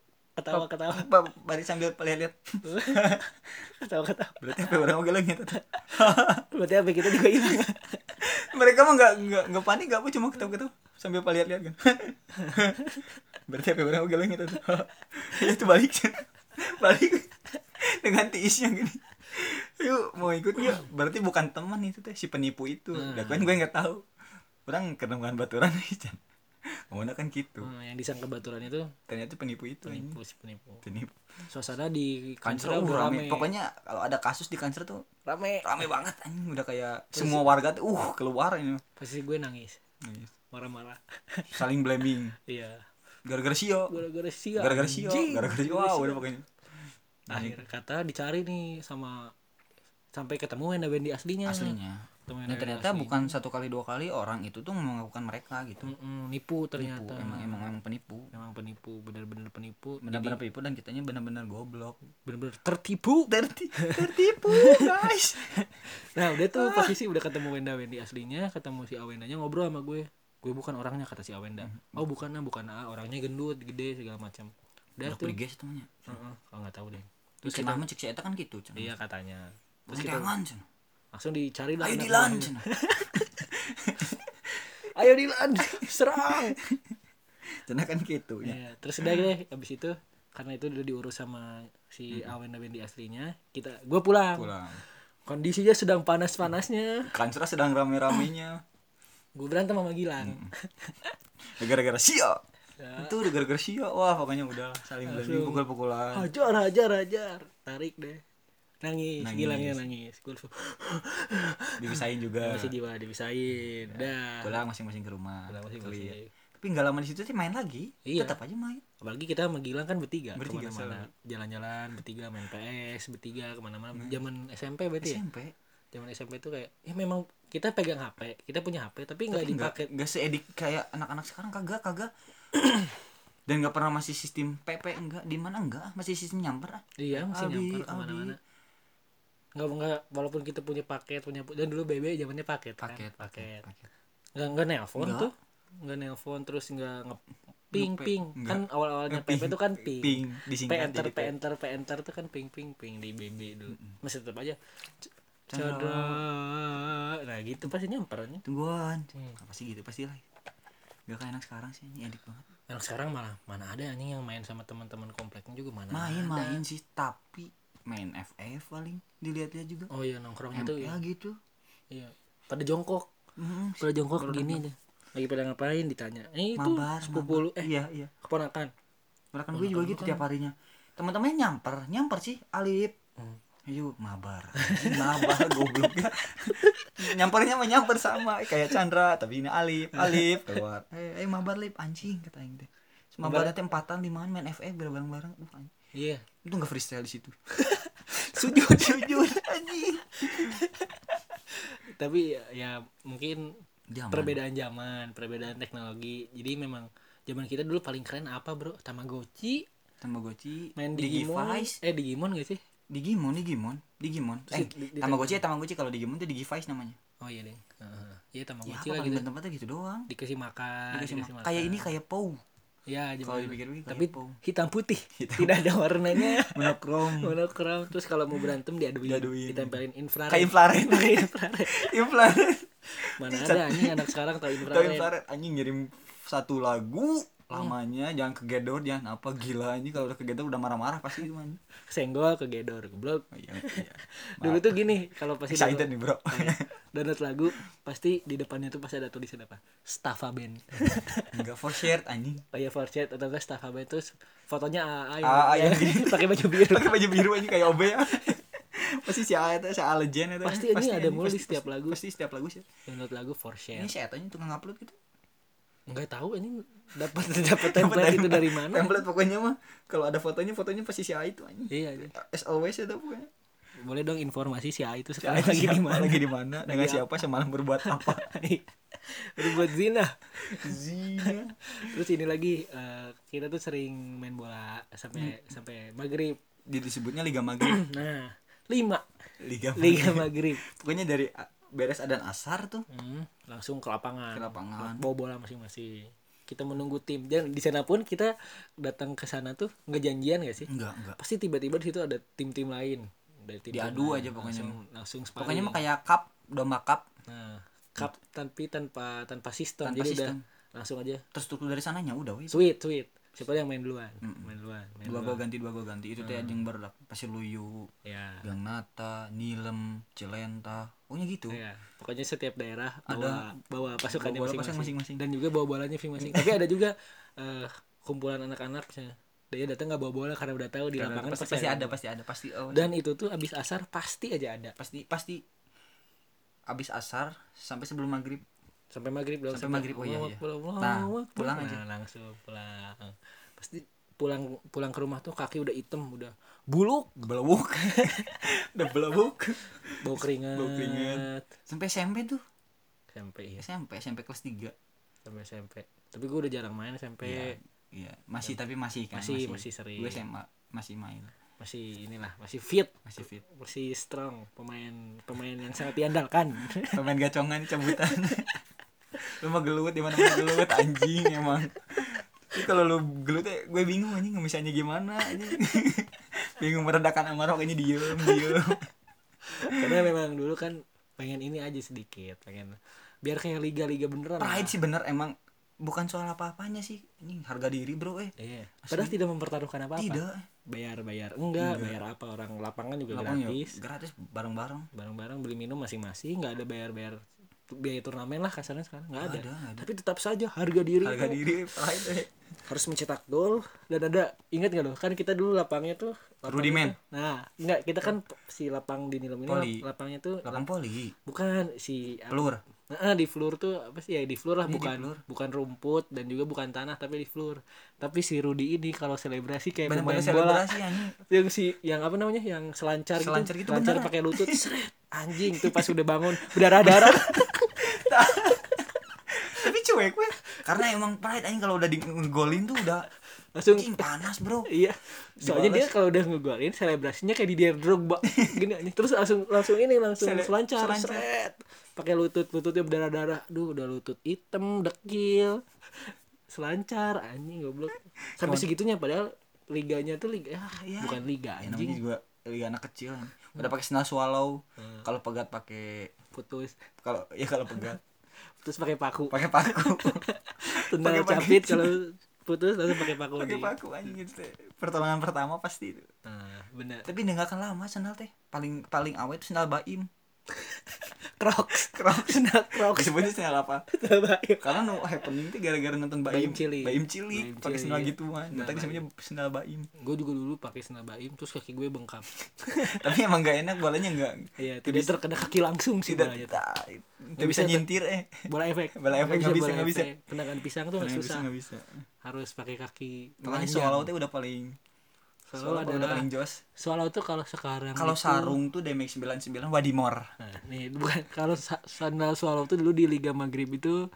Oh.
ketawa ketawa
ba- bari sambil lihat-lihat
ketawa ketawa
berarti HP orang Oke lengit
berarti apa kita juga hilang
mereka mah nggak nggak nggak panik nggak apa cuma ketawa ketawa sambil paliat lihat kan berarti apa orang gitu geleng itu ya itu balik Cen. balik dengan tiisnya gini yuk mau ikut nggak berarti bukan teman itu teh si penipu itu
Hmm.
nah. kan gue nggak tahu orang kenemuan baturan Cen. ngomongnya kan gitu
Hmm, yang disangka baturan itu
ternyata penipu itu ini
penipu si penipu
penipu
suasana di
kanser Hmm. uh, rame. pokoknya kalau ada kasus di kanser tuh
rame
rame banget anjing udah kayak semua warga tuh uh keluar ini
pasti gue nangis
Nangis.
marah-marah
saling blaming
iya
gara-gara sio
gara-gara sio
gara-gara sio
anjing. Iya
gara-gara sio wow udah pokoknya
akhir kata dicari nih sama sampai ketemu Wenda Wendy aslinya
aslinya
Ketemu Wenda
nah
Wendy
ternyata
aslinya.
bukan satu kali dua kali orang itu tuh mengakukan mereka gitu
Mm-mm, nipu
penipu
ternyata
emang emang emang penipu
Emang penipu bener-bener penipu
benar-benar penipu dan kitanya benar-benar goblok
Jadi bener-bener tertipu
Terti- tertipu guys
nah udah tuh posisi
Ah.
udah ketemu Wenda Wendy aslinya ketemu si Awendanya ngobrol sama gue gue bukan orangnya kata si
Hmm,
Awenda oh bukan ah bukan ah orangnya gendut gede segala macam udah
udah
tuh
priges tuh nya
Heeh, oh, nggak tahu deh
terus kita mah cek si eta kan gitu cen
iya katanya terus kita
jangan cen
langsung dicari lah
ayo
anak
dilan
buahnya.
cen
ayo Dilan serang
cen kan gitu ya
Iya, terus udah deh abis itu karena itu udah diurus sama si Awen dan Wendy aslinya kita gue pulang.
Hmm, pulang
kondisinya sedang panas panasnya
kanser sedang rame-ramenya
gue berantem sama Gilang
Hmm, gara-gara sio
Ya.
itu udah gara-gara sio wah pokoknya udah saling blaming
Langsung.
pukul-pukulan
hajar hajar hajar tarik deh nangis,
Nangis.
Gilangnya nangis gue langsung
dipisahin juga
masih jiwa dipisahin
Iya.
dah
pulang masing-masing ke rumah
Pulang masing-masing.
Clear. tapi nggak lama di situ sih main lagi
Iya.
tetap aja main
apalagi kita sama Gilang kan bertiga,
Bertiga,
kemana-mana jalan-jalan bertiga main PS bertiga kemana-mana
Hmm.
zaman SMP berarti ya
SMP
zaman SMP tuh kayak ya memang kita pegang HP kita punya HP tapi nggak
Tapi nggak
dipakai
nggak seedik kayak anak-anak sekarang kagak kagak dan nggak pernah masih sistem PP enggak di mana enggak masih sistem nyamper ah
Iya masih
Aldi,
nyamper
Aldi.
kemana-mana Nggak, nggak, walaupun kita punya paket punya dan dulu BB zamannya paket kan?
paket paket
paket nggak nggak nelpon
Nggak.
tuh nggak nelpon terus nggak nge ping
Ngepe-
ping
nggak.
kan awal awalnya PP itu kan ping,
ping
P
disingkat
enter
jadi
P enter P enter tuh kan ping ping ping di BB dulu masih tetap aja C-
Chandra.
Chandra nah gitu pasti nyamperannya
tungguan
Hmm.
apa sih gitu pasti lah Gak kayak anak sekarang sih ini edik banget
Anak sekarang malah mana ada anjing yang main sama teman-teman kompleknya juga mana
main
Nah, ada.
main sih tapi main FF paling dilihat-lihat juga
oh iya nongkrongnya tuh
ML
iya,
gitu
iya. pada jongkok
Mm,
pada jongkok begini aja lagi pada ngapain ditanya eh itu
mabar mabar.
sepuluh eh
iya iya
keponakan
Mereka gue juga gitu
kan.
tiap harinya. Teman-temannya nyamper, nyamper sih Alip.
Hmm.
Ayo mabar. Anjing, mabar goblok. Nyampernya mah nyamper sama kayak Chandra, tapi ini Alip, Alip keluar. Eh, eh mabar Lip anjing kata aing teh. Terus Mabarnya teh empatan limaan main FF bareng-bareng. Uh, anjing.
Iya.
Itu nggak freestyle di situ.
Sujud.
Jujur anjing.
Tapi ya mungkin
Dia aman.
perbedaan zaman, perbedaan teknologi. Jadi memang zaman kita dulu paling keren apa, Bro? Tamagotchi,
Tamagotchi,
main Digimon.
Digivice,
Eh, Digimon gak sih?
Digimon, Digimon, Digimon.
Terus
Eh,
di- di-
Tamagotchi ya Tamagotchi kalau Digimon tuh Digivice namanya.
Oh iya, Deng. Heeh. Iya,
Ya,
Tamagotchi
apa
lah
paling
gitu.
tempatnya gitu doang.
Dikasih makan,
Dikasih makan. Iya Kayak ini kayak Pou.
Ya,
Kalau
zaman dulu.
dipikir-pikir kayak
Tapi
Pou.
hitam putih. Tidak ada warnanya.
Monokrom.
Monokrom. Terus kalau mau berantem diaduin,
Diaduin.
ditempelin infrared.
Kayak infrared.
Kayak infrared.
Infrared.
Mana ada anjing anak sekarang tahu
Tahu
infrared.
infrared anjing ngirim satu lagu
Hmm.
lamanya jangan kegedor jangan apa gila ini kalau udah kegedor udah marah-marah pasti gimana
Senggol ke gedor, goblok.
oh, iya, iya.
Dulu tuh gini, kalau pasti Iya.
excited nih bro
download lagu pasti di depannya tuh pasti ada tulisan apa Staffa Band
enggak for shared anjing
oh ya for chat atau enggak Staffa Band terus fotonya
AA
AA yang-
yang gini.
pakai baju biru
pakai baju biru aja kayak OB ya pasti si A itu si A legend itu
Pasti ini ada
anjing,
mulu
pasti-
setiap
pasti-
lagu. Iya.
pasti setiap lagu sih
download lagu for
ini si
share
Etanya tukang upload gitu
nggak tahu ini dapat dapat template itu dari mana
template pokoknya mah kalau ada fotonya fotonya pasti si A itu anjing
iya iya.
as always itu pokoknya
boleh dong informasi si A itu
si A itu
sekarang lagi
siapa,
di mana
lagi di mana dengan siapa semalam berbuat apa
berbuat zina
zina
terus ini lagi eh, kita tuh sering main bola
Hmm.
sampai sampai maghrib
Dia disebutnya Liga Maghrib
nah lima
Liga Maghrib.
liga maghrib
pokoknya dari a- beres adan asar tuh
Hmm, langsung ke lapangan.
Ke lapangan.
Bawa bola masing-masing. Kita menunggu tim. Dan di sana pun kita datang ke sana tuh nggak janjian gak sih?
enggak enggak
Pasti tiba-tiba di situ ada tim-tim lain. Dari tim
Diadu aja pokoknya.
Langsung, langsung sparring.
pokoknya mah kayak cup domba cup
Nah, cup tapi tanpa tanpa sistem.
Tanpa
Jadi
sistem.
udah langsung aja
terstruktur dari sananya udah wes
sweet sweet. Siapa yang main duluan? Main duluan. Main
dua gol
duluan.
ganti dua gol ganti itu teh anjing baru pasir luyu
Ya.
Gang Nata, Nilem, Cilenta, pokoknya gitu.
ya. Pokoknya setiap daerah
Ada-
bawa bawa pasukannya
bawa bola
masing-masing.
pasang masing-masing.
dan juga bawa bolanya masing-masing. Tapi ada juga eh, kumpulan anak-anak misalnya. Dia datang nggak bawa bola karena udah tahu di lapangan
pasti, pasti ada, pasti ada, pasti oh,
Dan itu tuh abis asar pasti aja ada.
pasti pasti abis asar sampai sebelum maghrib
Sampai maghrib dong.
Sampai maghrib, oh iya,
Allahu
iya.
Akbar, Allahu
Nah,
Akbar.
pulang
Nah,
aja.
langsung pulang. Pasti pulang pulang ke rumah tuh kaki udah item udah buluk
belawuk udah belawuk
bau keringat,
Bau keringat. sampai SMP tuh
SMP ya
SMP SMP kelas 3
sampai SMP tapi gue udah jarang main SMP
iya masih tapi masih kan
Ya. Masih, masih sering.
gue SMA masih main
masih inilah masih fit
masih fit
masih strong pemain pemain yang sangat diandalkan
pemain gacongan cabutan lu mah gelut di mana mana gelut anjing emang Tapi kalau lu gelut ya gue bingung anjing misalnya gimana anjing bingung meredakan amarah kayaknya diem diem
karena memang dulu kan pengen ini aja sedikit pengen biar kayak liga-liga beneran lah.
pride sih bener emang bukan soal apa apanya sih ini harga diri bro eh
Iya. padahal tidak mempertaruhkan apa-apa
tidak
bayar bayar enggak, bayar apa orang lapangan juga
Lapang ya,
gratis
gratis bareng bareng
barang-barang beli minum masing-masing nggak ada bayar bayar biaya turnamen lah kasarnya sekarang nggak ada.
ada, nggak ada.
tapi tetap saja harga diri
harga
itu
diri pride eh.
harus mencetak gol dan ada ingat nggak loh kan kita dulu lapangnya tuh lapang
Rudimen.
itu- nah nggak kita kan si lapang di Nilem ini
Poli.
lap- lapangnya tuh
lapang poli
bukan si
pelur
Nah, di floor tuh apa sih ya di floor lah
Iya, di
bukan
floor.
bukan rumput dan juga bukan tanah tapi di floor. Tapi si Rudi ini kalau selebrasi kayak
bener bener
pemain bola
selebrasi anjing
yang si yang apa namanya yang selancar,
Selancar
gitu,
gitu,
selancar
beneran.
pakai lutut seret. anjing tuh pas udah bangun berdarah darah
tapi cuek gue karena emang pride anjing kalau udah di golin tuh udah
langsung
anjing panas bro Nah,
iya soalnya dia kalau udah ngegolin selebrasinya kayak di dia drogba gini anjing. terus langsung langsung ini langsung
Sele-
selancar,
selancar.
seret pakai lutut lututnya berdarah darah duh udah lutut hitam dekil selancar anjing goblok sampai segitunya padahal liganya tuh liga ah,
ya.
bukan liga
Ya, namanya
anjing Hmm.
juga liga anak kecil kan. Udah pakai sendal swallow. Kalau pegat pakai
putus
kalau ya kalau pegat
putus pakai paku
pakai paku.
tendang
pakai paku.
capit kalau putus langsung pakai paku
pakai
di-
paku anjing gitu. teh. Pertolongan pertama pasti itu.
Nah, bener
Tapi ninggalkan lama sendal teh. Paling paling awet itu sendal baim.
Crocs
Crocs.
Sendal Crocs
Disebutnya sendal apa?
Terbaik.
Karena no happening itu gara-gara nonton baim.
Baim cilik.
Baim cilik.
Baim
Pakai sendal
cilik.
gituan. Nah,
Nah,
tapi
baim.
disebutnya sendal baim.
gue juga dulu pakai sendal baim terus kaki gue bengkak
tapi emang gak enak bolanya enggak.
Iya, tidak terkena kaki langsung sih
Tidak,
bolanya.
tidak, tidak iya. bisa
bisa,
nyintir eh.
Bola efek.
Bola efek, nggak bisa, nggak bisa.
efek. Tendangan pisang tuh nggak
Nggak
susah.
bisa, nggak bisa.
Harus pakai kaki Nah,
Makanya
telanjang.
swallow teh udah paling Solo
Solo
kalau udah
adalah
paling jos.
Solo tuh kalau sekarang
Kalau
itu-
sarung tuh damage 99 Wadimor.
Nah, nih bukan kalau sa- sandal Swallow tuh dulu di Liga Maghrib itu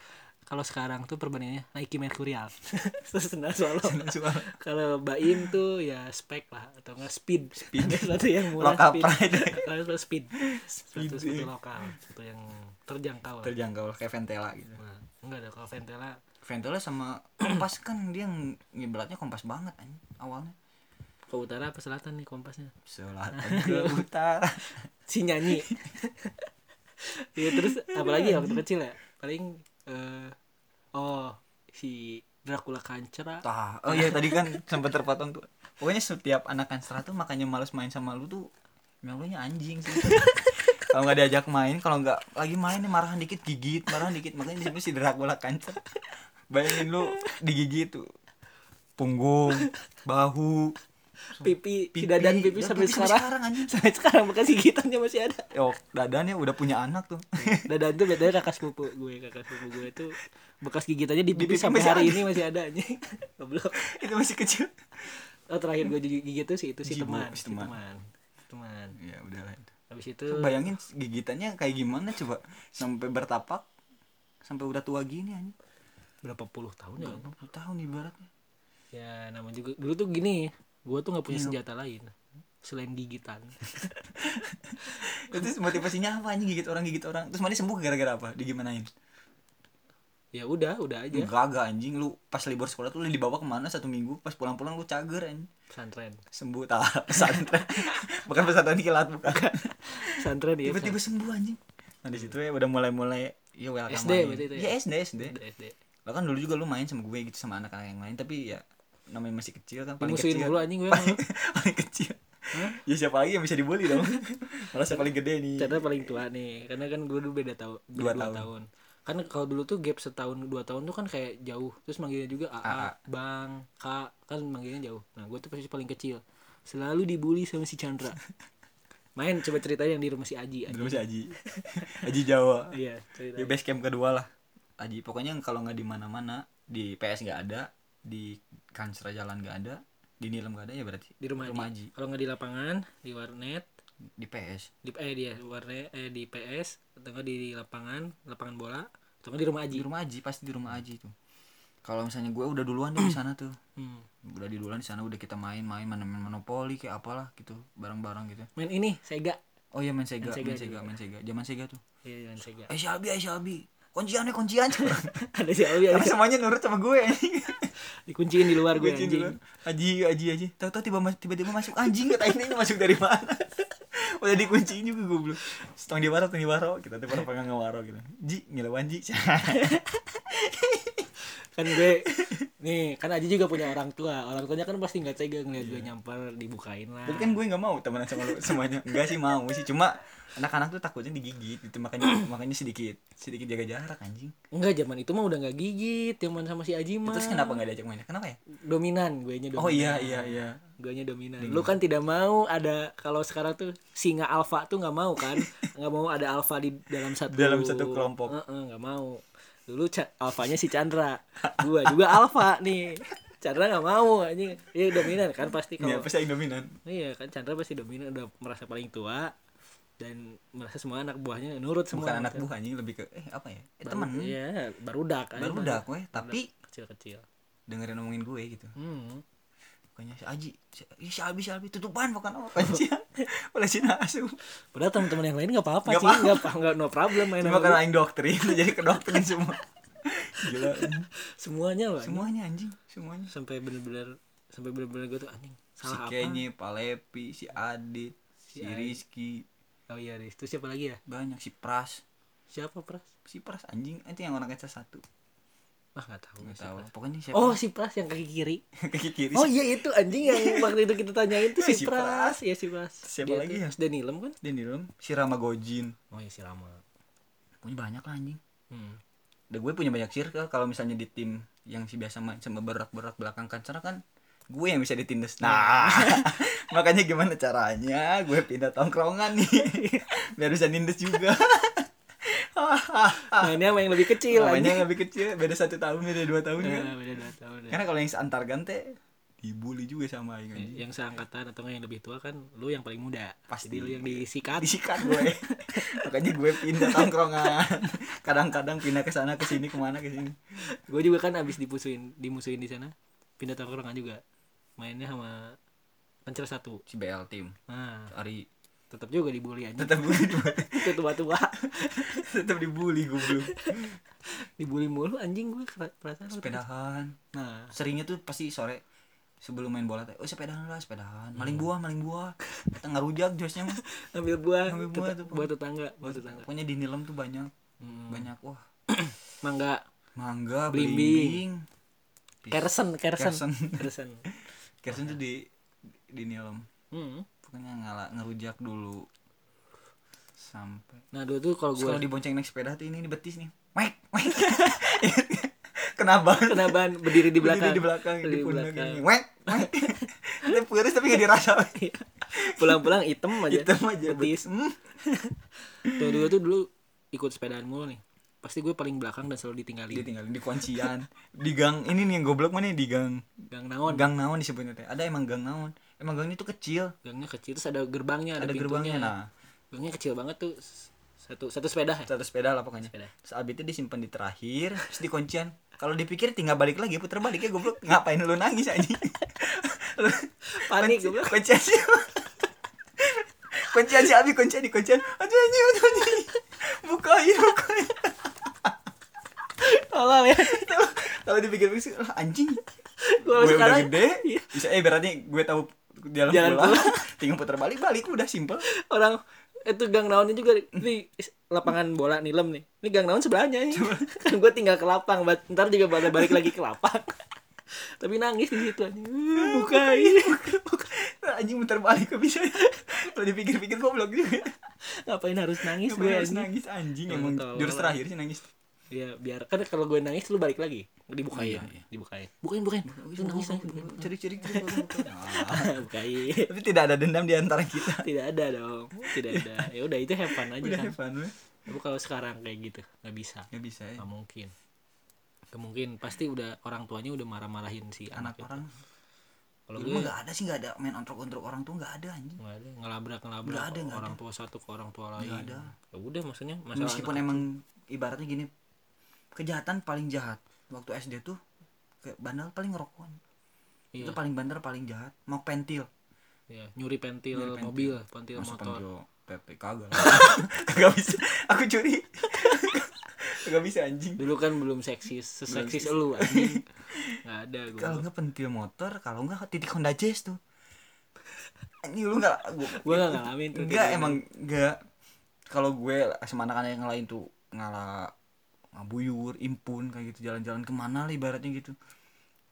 kalau sekarang tuh perbandingannya Nike Mercurial. Terus sandal Swallow. kalau Baim tuh ya spek lah atau enggak speed. Speed satu yang murah
Lokal
speed.
pride.
Kalau itu speed.
Speed,
Satu
iya.
sepatu lokal, satu yang terjangkau. lah.
Terjangkau lah, kayak Ventela gitu.
Nah, enggak ada kalau Ventela
Ventela sama kompas kan dia ng- ngibaratnya kompas banget anjing awalnya.
ke utara apa selatan nih kompasnya?
Selatan ke utara.
Si nyanyi. Iya terus apalagi ya waktu kecil ya? Paling eh, oh si Dracula Kancera.
Tah. Oh iya tadi kan sempat terpotong tuh. Pokoknya setiap anak kanstra tuh makanya males main sama lu tuh emang lu nya anjing sih. kalau nggak diajak main, kalau nggak lagi main nih marahan dikit gigit, marahan dikit makanya disebut si Dracula kancer. Bayangin lu digigit tuh punggung, bahu,
pipi, si dadan pipi
Ya,
sampai sekarang
anjing.
sampai sekarang bekas gigitannya masih ada
Oh, dadannya udah punya anak tuh.
dadan tuh bedanya kakak sepupu gue kakak sepupu gue tuh bekas gigitannya di pipi,
pipi
sampai
masih
hari
ada.
ini masih ada anjing goblok
Itu masih kecil.
oh terakhir gue gigit gigit tuh si itu si
Jibo,
teman
si
si
teman.
teman Si teman
Ya udahlah.
habis itu
Bayangin gigitannya kayak gimana coba sampai bertapak sampai udah tua gini anjing.
berapa puluh tahun ya
Udah 20 tahun ibaratnya.
ya namanya juga dulu tuh gini gue tuh nggak punya senjata lain selain gigitan
Terus motivasinya apa anjing gigit orang gigit orang. Terus mana sembuh gara-gara apa? Digimanain?
ya udah udah aja
Enggak enggak anjing lu pas libur sekolah tuh lu dibawa kemana satu minggu pas pulang-pulang lu cager anjing.
pesantren
Sembuh tak pesantren. bukan pesantren kilat bukan.
pesantren ya
Tiba-tiba sembuh anjing. Nah di situ ya udah mulai-mulai ya welcome
SD
aja.
berarti itu ya?
Ya SD SD.
pesantren. SD
Lah kan dulu juga lu main sama gue gitu sama anak-anak yang lain tapi ya namanya masih kecil kan paling
Dimusuhin
kecil. Iya.
mulu anjing gue sama
paling, paling kecil.
Hmm?
Ya siapa lagi yang bisa dibully dong? Merasa paling gede nih.
Chandra paling tua nih karena kan gue dulu beda tahun beda
Dua
dua,
tahun.
tahun. kan kalau dulu tuh gap setahun dua tahun tuh kan kayak jauh terus manggilnya juga
AA.
AA, Bang Kak kan manggilnya jauh nah gue tuh posisi paling kecil selalu dibully sama si Chandra main coba ceritain yang di rumah si Aji Aji.
Dulu si Aji. Aji Jawa.
iya
Di
ceritain
base camp kedua lah. Aji pokoknya kalau nggak di mana-mana di PS nggak ada, di Kansra Jalan nggak ada, di Nilem nggak ada ya berarti
di rumah, Aji, kalau nggak di lapangan di warnet
di PS.
di eh dia warnet eh di PS atau nggak di lapangan lapangan bola atau nggak di rumah Aji
Di rumah Aji pasti di rumah Aji tuh. Kalau misalnya gue udah duluan deh di sana tuh.
Hmm.
Udah di duluan di sana udah kita main-main main main monopoli kayak apalah gitu, bareng-bareng gitu.
main ini Sega
Oh iya main Sega, main
Main Sega
Sega, main Sega, Zaman Sega tuh.
iya main Sega
Eh si Abi, eh si Abi. Kuncian ya kuncian. Tapi
ada si Alwi ada
semuanya nurut sama gue.
dikunciin di luar gue
Kunciin
anjing
dulu. Aji, aji, aji. Tahu-tahu tiba tiba-tiba masuk anjing kata ini masuk dari mana? Udah dikunciin juga goblok. Setong di waro, setong di waro. Kita tuh pernah pengen ngewaro gitu. Ji, ngelawan Ji.
kan gue nih kan Aji juga punya orang tua orang tuanya kan pasti nggak tega ngeliat gue nyampar dibukain lah
Tapi kan gue nggak mau temenan sama lu semuanya. Enggak sih mau sih, cuma anak-anak tuh takutnya digigit gitu makanya makanya sedikit sedikit jaga jarak anjing.
enggak zaman itu mah udah nggak gigit zaman sama si Aji mah
Terus kenapa nggak diajak mainnya? Kenapa ya?
dominan gue nya dominan
Oh iya iya iya.
gue nya dominan lu kan tidak mau ada kalau sekarang tuh singa alfa tuh nggak mau kan nggak mau ada alfa di dalam satu
Dalam satu kelompok.
Heeh, nggak mau dulu Ca- alfanya si Chandra gue juga alfa nih Chandra nggak mau anjing dia dominan kan pasti
Iya,
kalau
pasti yang dominan.
Iya kan Chandra pasti dominan udah merasa paling tua dan merasa semua anak buahnya nurut semua.
bukan anak buah anjing lebih ke eh apa ya eh,
iya. Baru-
teman
Iya, barudak. aja.
baru udah gue tapi
kecil-kecil.
dengerin ngomongin gue gitu
Hmm.
pokoknya si Aji si, ih, si Abi si Abi tutupan bukan apa kancian oleh si Nasu
Padahal teman-teman yang lain nggak apa-apa
Nggak
sih, nggak apa nggak no problem main
cuma
sama
karena
lu.
aing doktrin jadi ke doktrin semua gila
eh. semuanya loh. anjing.
semuanya anjing semuanya
Sampai bener-bener sampai bener-bener gue tuh anjing
si
salah apa?
Kenye Palepi si Adit si,
Ai.
Rizky
Oh iya, Riz. Terus siapa lagi ya?
banyak si Pras
Siapa Pras?
si Pras anjing itu yang orang kaca satu
Wah nggak tahu.
nggak
Si
tahu
Pras.
pokoknya siapa
Oh si Pras yang kaki kiri.
kaki kiri
Oh
si
iya itu anjing yang waktu itu kita tanyain tuh si,
Si Pras.
Pras. Iya si Pras.
Siapa
Dia
lagi
tuh
ya?
Mas Denilem kan?
dia di dalam si Rama Gojin
Oh iya si Rama.
pokoknya banyak lah anjing
Hmm.
Udah gue punya banyak circle kalau misalnya di tim yang si biasa main sama berak-berak belakang kancera kan gue yang bisa ditindas. Nah, makanya gimana caranya gue pindah tongkrongan nih biar bisa nindes juga.
mainnya Nah, sama yang lebih kecil
Namanya
anjing. Iya,
yang lebih kecil, beda satu tahun, beda dua tahun kan.
Nah, beda dua tahun ya.
Karena kalau yang seantar gante
dibully juga sama aing anjing.
yang seangkatan atau nggak yang lebih tua kan lu yang paling muda
Pasti.
jadi lu yang disikat
disikat gue makanya gue pindah tongkrongan kadang-kadang pindah ke sana ke sini kemana ke sini
gue juga kan abis dipusuin dimusuhin di sana pindah tongkrongan juga mainnya sama pencer satu
si BL tim
nah
Ari
tetap juga dibully aja
tetap gue di-
itu tua tua
tetap dibully gue belum
dibully mulu anjing gue kera- perasaan waktu itu.
sepedahan
nah
seringnya tuh pasti sore sebelum main bola teh oh sepedahan lah sepedahan maling
Iya.
buah maling buah tengah rujak josnya mah.
ambil buah
Ambil buah
teta-
tuh.
buah tetangga buah tetangga
pokoknya di nilam tuh banyak
Hmm.
banyak wah
mangga
mangga
Belimbing.
belimbing
kersen kersen
kersen
kersen
kersen tuh di di nilam
Hmm.
pokoknya ngalah ngerujak dulu sampai
nah dulu tuh kalau
Terus kalau
gue
dibonceng naik sepeda tuh ini di betis nih wek wek kenapa
kena ban berdiri di belakang
di belakang di
Berdiri di
pundak
belakang.
ini wek wek itu puris tapi gak dirasa
pulang-pulang hitam Iya, aja
hitam aja
Betis.
Hmm.
tuh dulu tuh dulu ikut sepedaan mulu nih pasti gue paling belakang dan selalu ditinggalin
ditinggalin di kuncian di gang ini nih yang goblok mana di gang
gang naon
gang naon disebutnya teh ada emang gang naon emang gang itu kecil
gangnya kecil terus ada gerbangnya
ada
ada, pintunya
gerbangnya nah
gangnya kecil banget tuh S- satu satu sepeda ya
satu sepeda lah pokoknya
Sepeda.
terus abis itu disimpan di terakhir terus di kuncian kalau dipikir tinggal balik lagi puter balik ya goblok ngapain lu nangis anjing Lu-
panik
Kunci-
gue bilang
kuncian si kuncian si abi kuncian di kuncian aduh anjing aduh anjing bukain bukain
tolol ya
kalau dipikir pikir anjing
Kalau
gue udah
sekarang-
gede
Iya.
bisa eh berarti gue tahu jalan,
Jalan
pulang, tinggal putar balik balik udah simpel
orang itu gang naonnya juga di lapangan bola nilem nih ini gang naon sebelahnya nih kan gue tinggal ke lapang bat- ntar juga balik balik lagi ke lapang tapi nangis di situ aja bukain
anjing putar balik kok bisa kalau dipikir pikir goblok juga
ngapain harus nangis gue
gue harus
anjing?
nangis anjing
Nggak
emang
tahu
jurus
lah.
terakhir sih nangis
Iya, biar kan kalau gue nangis lu balik lagi. Dibukain, dibukain. Bukain, Oh, iya, bukain. Lu nangis nangis. bukain, bukain.
cerik cerik cerik
Bukain.
tapi tidak ada dendam di antara kita
Tidak ada dong. Tidak ada. Ya udah itu have fun aja
udah
kan.
Evan we.
Tapi kalau sekarang kayak gitu nggak bisa.
nggak bisa ya
Nggak mungkin. Nggak mungkin pasti udah orang tuanya udah marah-marahin
anak
si anak, itu.
orang
ya. Kalau
Di
gue
rumah nggak ada sih nggak ada main ontrok-ontrok orang tuh nggak ada anjing.
nggak ada ngelabrak ngelabrak
Nggak ada, nggak
orang tua satu ke orang tua lain.
ada.
Ya udah maksudnya masalah
Meskipun
anak-
emang ibaratnya gini kejahatan paling jahat waktu SD tuh kayak bandel paling ngerokok.
Iya.
Itu paling bandel paling jahat. Mau pentil.
Iya, nyuri pentil,
Nyuri pentil.
mobil, pentil
Masa
Iya, motor.
pentil PP kagak. lah. kagak bisa. Aku curi. kagak bisa anjing.
Dulu kan belum seksis, seseksis lu anjing. Nggak ada gue.
Kalau nggak pentil motor, kalau nggak titik Honda Jazz tuh. Ini lu nggak gua-
gue gak ngalamin tuh
enggak
tidur.
emang enggak kalau gue sama anak-anak yang lain tuh ngalah ngabuyur impun kayak gitu jalan-jalan kemana lah ibaratnya gitu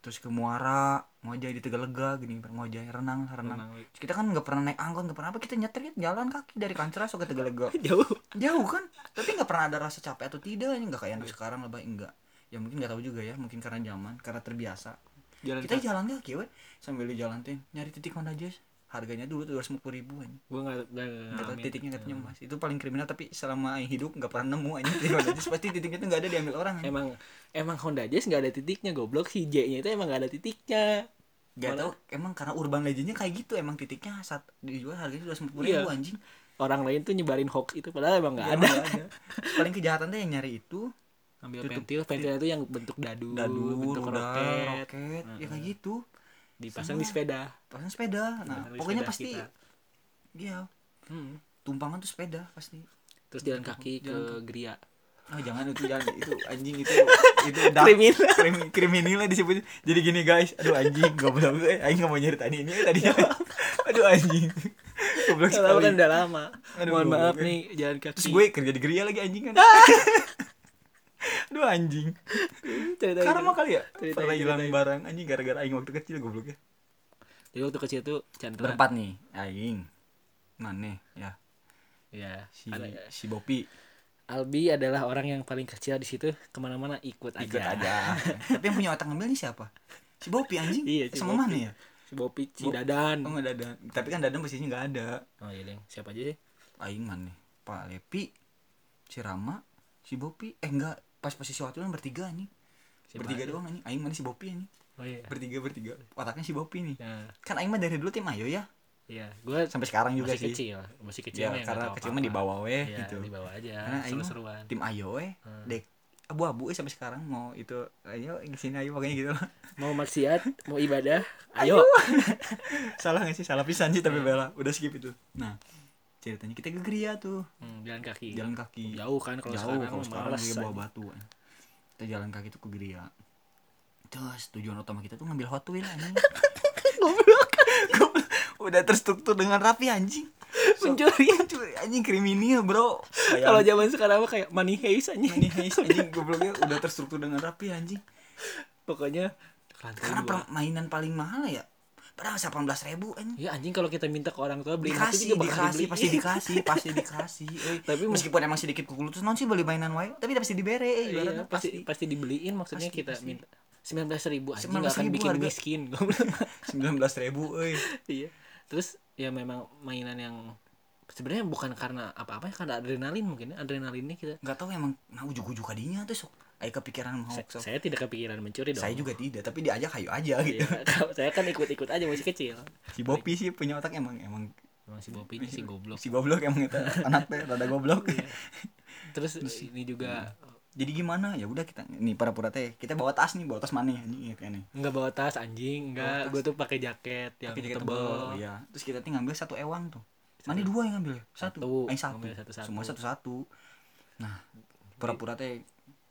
terus ke muara ngojek di tegalega gini ngojek renang renang,
Renang.
Terus kita kan nggak pernah naik angkot nggak pernah apa kita nyetir gitu, jalan kaki dari kanceras ke tegalega
jauh
jauh kan tapi nggak pernah ada rasa capek atau tidak nggak kayak anak sekarang lebih enggak ya mungkin nggak tahu juga ya mungkin karena zaman karena terbiasa
jalan
kita jalan kaki we sambil di jalan tuh nyari titik Honda Jazz harganya dulu tuh dua ribu aja
gue gak, gak,
Gak tau
ngalamin
titiknya katanya mas Itu paling kriminal tapi selama Aing hidup gak pernah nemu aja titik Honda Jazz. Pasti titiknya tuh gak ada diambil orang anjing.
Nah, emang emang Honda Jazz gak ada titiknya goblok si J nya itu emang gak ada titiknya
Gak
Malah
tau emang karena urban legendnya kayak gitu Emang titiknya saat dijual harganya dua ratus
Iya.
ribu anjing
orang lain tuh nyebarin hoax itu padahal emang
Ya,
gak ada
emang nggak ada. Paling kejahatan tuh yang nyari itu
ambil
Tutup-
pentil pentil itu yang bentuk dadu
Dadu,
bentuk
rudal,
roket,
roket, Ya kayak gitu Semua.
dipasang di sepeda
Pasang sepeda Nah
Benar, di
pokoknya
sepeda
pasti
kita.
Iya
Hmm.
Tumpangan tuh sepeda pasti
terus jalan kaki ke geria
Ah jangan itu jangan itu anjing itu itu dark
Kriminal.
krimi, kriminal disebut. Jadi gini guys, aduh anjing goblok gue aing enggak mau nyeritain ini eh, tadi.
Iya.
aduh anjing. Goblok
Kalau kan
sekali.
udah lama
Aduh,
mohon
goblok
maaf
kan.
nih jalan kaki
Terus gue kerja di geria lagi anjing kan.
Ah.
aduh anjing.
Cerita
Karma
gitu.
kali ya.
Ceritain,
Pernah hilang
ceritain.
barang anjing gara-gara aing waktu kecil ya. gobloknya.
jadi waktu kecil tuh cantik
Berempat nih aing. Mana ya?
ya
Si
ada-
si Bopi
Albi adalah orang yang paling kecil di situ kemana-mana ikut aja
ikut aja. Tapi yang punya otak ngambil nih siapa? Si Bopi anjing.
Iya, si
Sama
Bopi.
mana ya?
si Bopi, si
Bo-
Dadan.
Oh nggak ada, tapi kan dadang posisinya nggak ada.
Oh iya deng, siapa aja sih?
Aing mana? Pak Lepi, si Rama, si Bopi. Eh enggak, pas posisi waktu kan bertiga nih.
Si
bertiga
Bayu.
doang anjing. Aing mana si Bopi anjing.
oh iya
bertiga bertiga otaknya si Bopi nih
nah
kan Aing mah dari dulu tim Ayo ya
iya gue
sampai sekarang juga sih
masih kecil masih kecil
ya
mah yang nggak
karena
tahu
kecil mah
apa-apa.
dibawa weh
Iya,
gitu
dibawa aja
Karena Aing mah
seru-seruan
tim Ayo weh
Hmm.
dek abu-abu eh sampai sekarang mau itu ayo di sini ayo pokoknya gitu loh
mau maksiat mau ibadah ayo
salah gak sih salah pisan sih tapi bela udah skip itu nah ceritanya kita ke geria tuh
Hmm, jalan kaki
jalan kaki
jauh kan kalau
jauh
sekarang
kalau
mah
sekarang
males
dia bawa
aja.
batu anjing. kita jalan kaki tuh ke geria terus tujuan utama kita tuh ngambil hot wheel anjing goblok udah terstruktur dengan rapi anjing
Pencuri.
Pencuri, anjing kriminal bro
kalau zaman sekarang mah kayak money haze aja
ini heis anjing gobloknya udah terstruktur dengan rapi anjing
pokoknya
karena
lantai dua
permainan paling mahal ya padahal 18 ribu anjing
ya anjing kalau kita minta ke orang tua Iya, beli
dikasih dikasih pasti
dikasih
dikasih pasti dikasih eh,
Tapi
tapi
mes-
meskipun emang sedikit kukul terus non sih beli mainan wae tapi pasti dibere eh,
iya,
ibaratnya
pasti pasti dibeliin maksudnya
Pasti,
kita
pasti.
minta sembilan belas ribu anjing nggak akan
19.000
bikin
harga.
miskin Gua bilang.
sembilan belas ribu eh
iya terus ya memang mainan yang sebenarnya bukan karena apa-apa ya karena adrenalin mungkin ya. adrenalinnya kita
nggak tahu emang nah ujuk ujuk kadinya tuh sok ayo kepikiran mau
Sa-
sok
saya tidak kepikiran mencuri dong
saya juga tidak tapi diajak hayu aja gitu
Iya, kalau saya kan ikut-ikut aja masih kecil
si Bopi sih punya otak emang emang
emang si Bopinya si goblok Iya.
si goblok emang itu anaknya rada goblok
terus ini juga
jadi gimana ya udah kita nih para pura teh kita bawa tas nih bawa tas mana anjing ya kayaknya
nggak bawa tas anjing
Bawa
nggak
tas.
gue tuh pakai jaket yang
Pakai jaket
tebel,
tebal, iya. Terus kita tuh ngambil satu ewang tuh. Mana dua yang ngambil? Satu.
Satu.
Eh, satu.
Ngambil satu-satu.
Semua satu-satu. Nah, pura-pura teh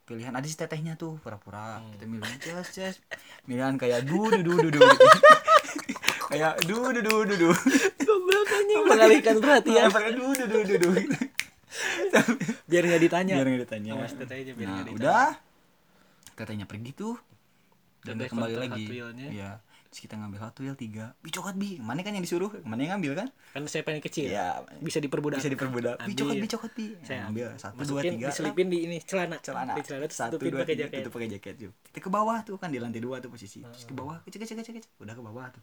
pilihan ada si tetehnya tuh pura-pura
Hmm.
kita milih ces ces pilihan kayak du du du du du gitu. kayak du du du du du
goblok anjing mengalihkan perhatian
Pakai du du du du du gitu.
biar nggak ditanya
biar nggak ditanya
Sama si tetehnya biar
nah
nggak ditanya.
udah tetehnya pergi tuh dan
Teteh
dia kembali
kontrol
lagi
Hot Wheel-nya.
Iya. terus kita ngambil Hot Wheel tiga bi coklat bi mana kan yang disuruh mana yang ngambil kan
kan saya pengen kecil
Iya.
bisa diperbudak
bisa diperbudak
Ambil.
bi coklat bi coklat bi
saya
ambil satu dua
masukin,
tiga
diselipin di ini celana
celana
di celana terus
satu
tutupin
dua
pakai
tiga
jaket Ah.
tutup pakai jaket yuk kita ke bawah tuh kan di lantai dua tuh posisi terus ke bawah kecil kecil kecil kecil udah ke bawah tuh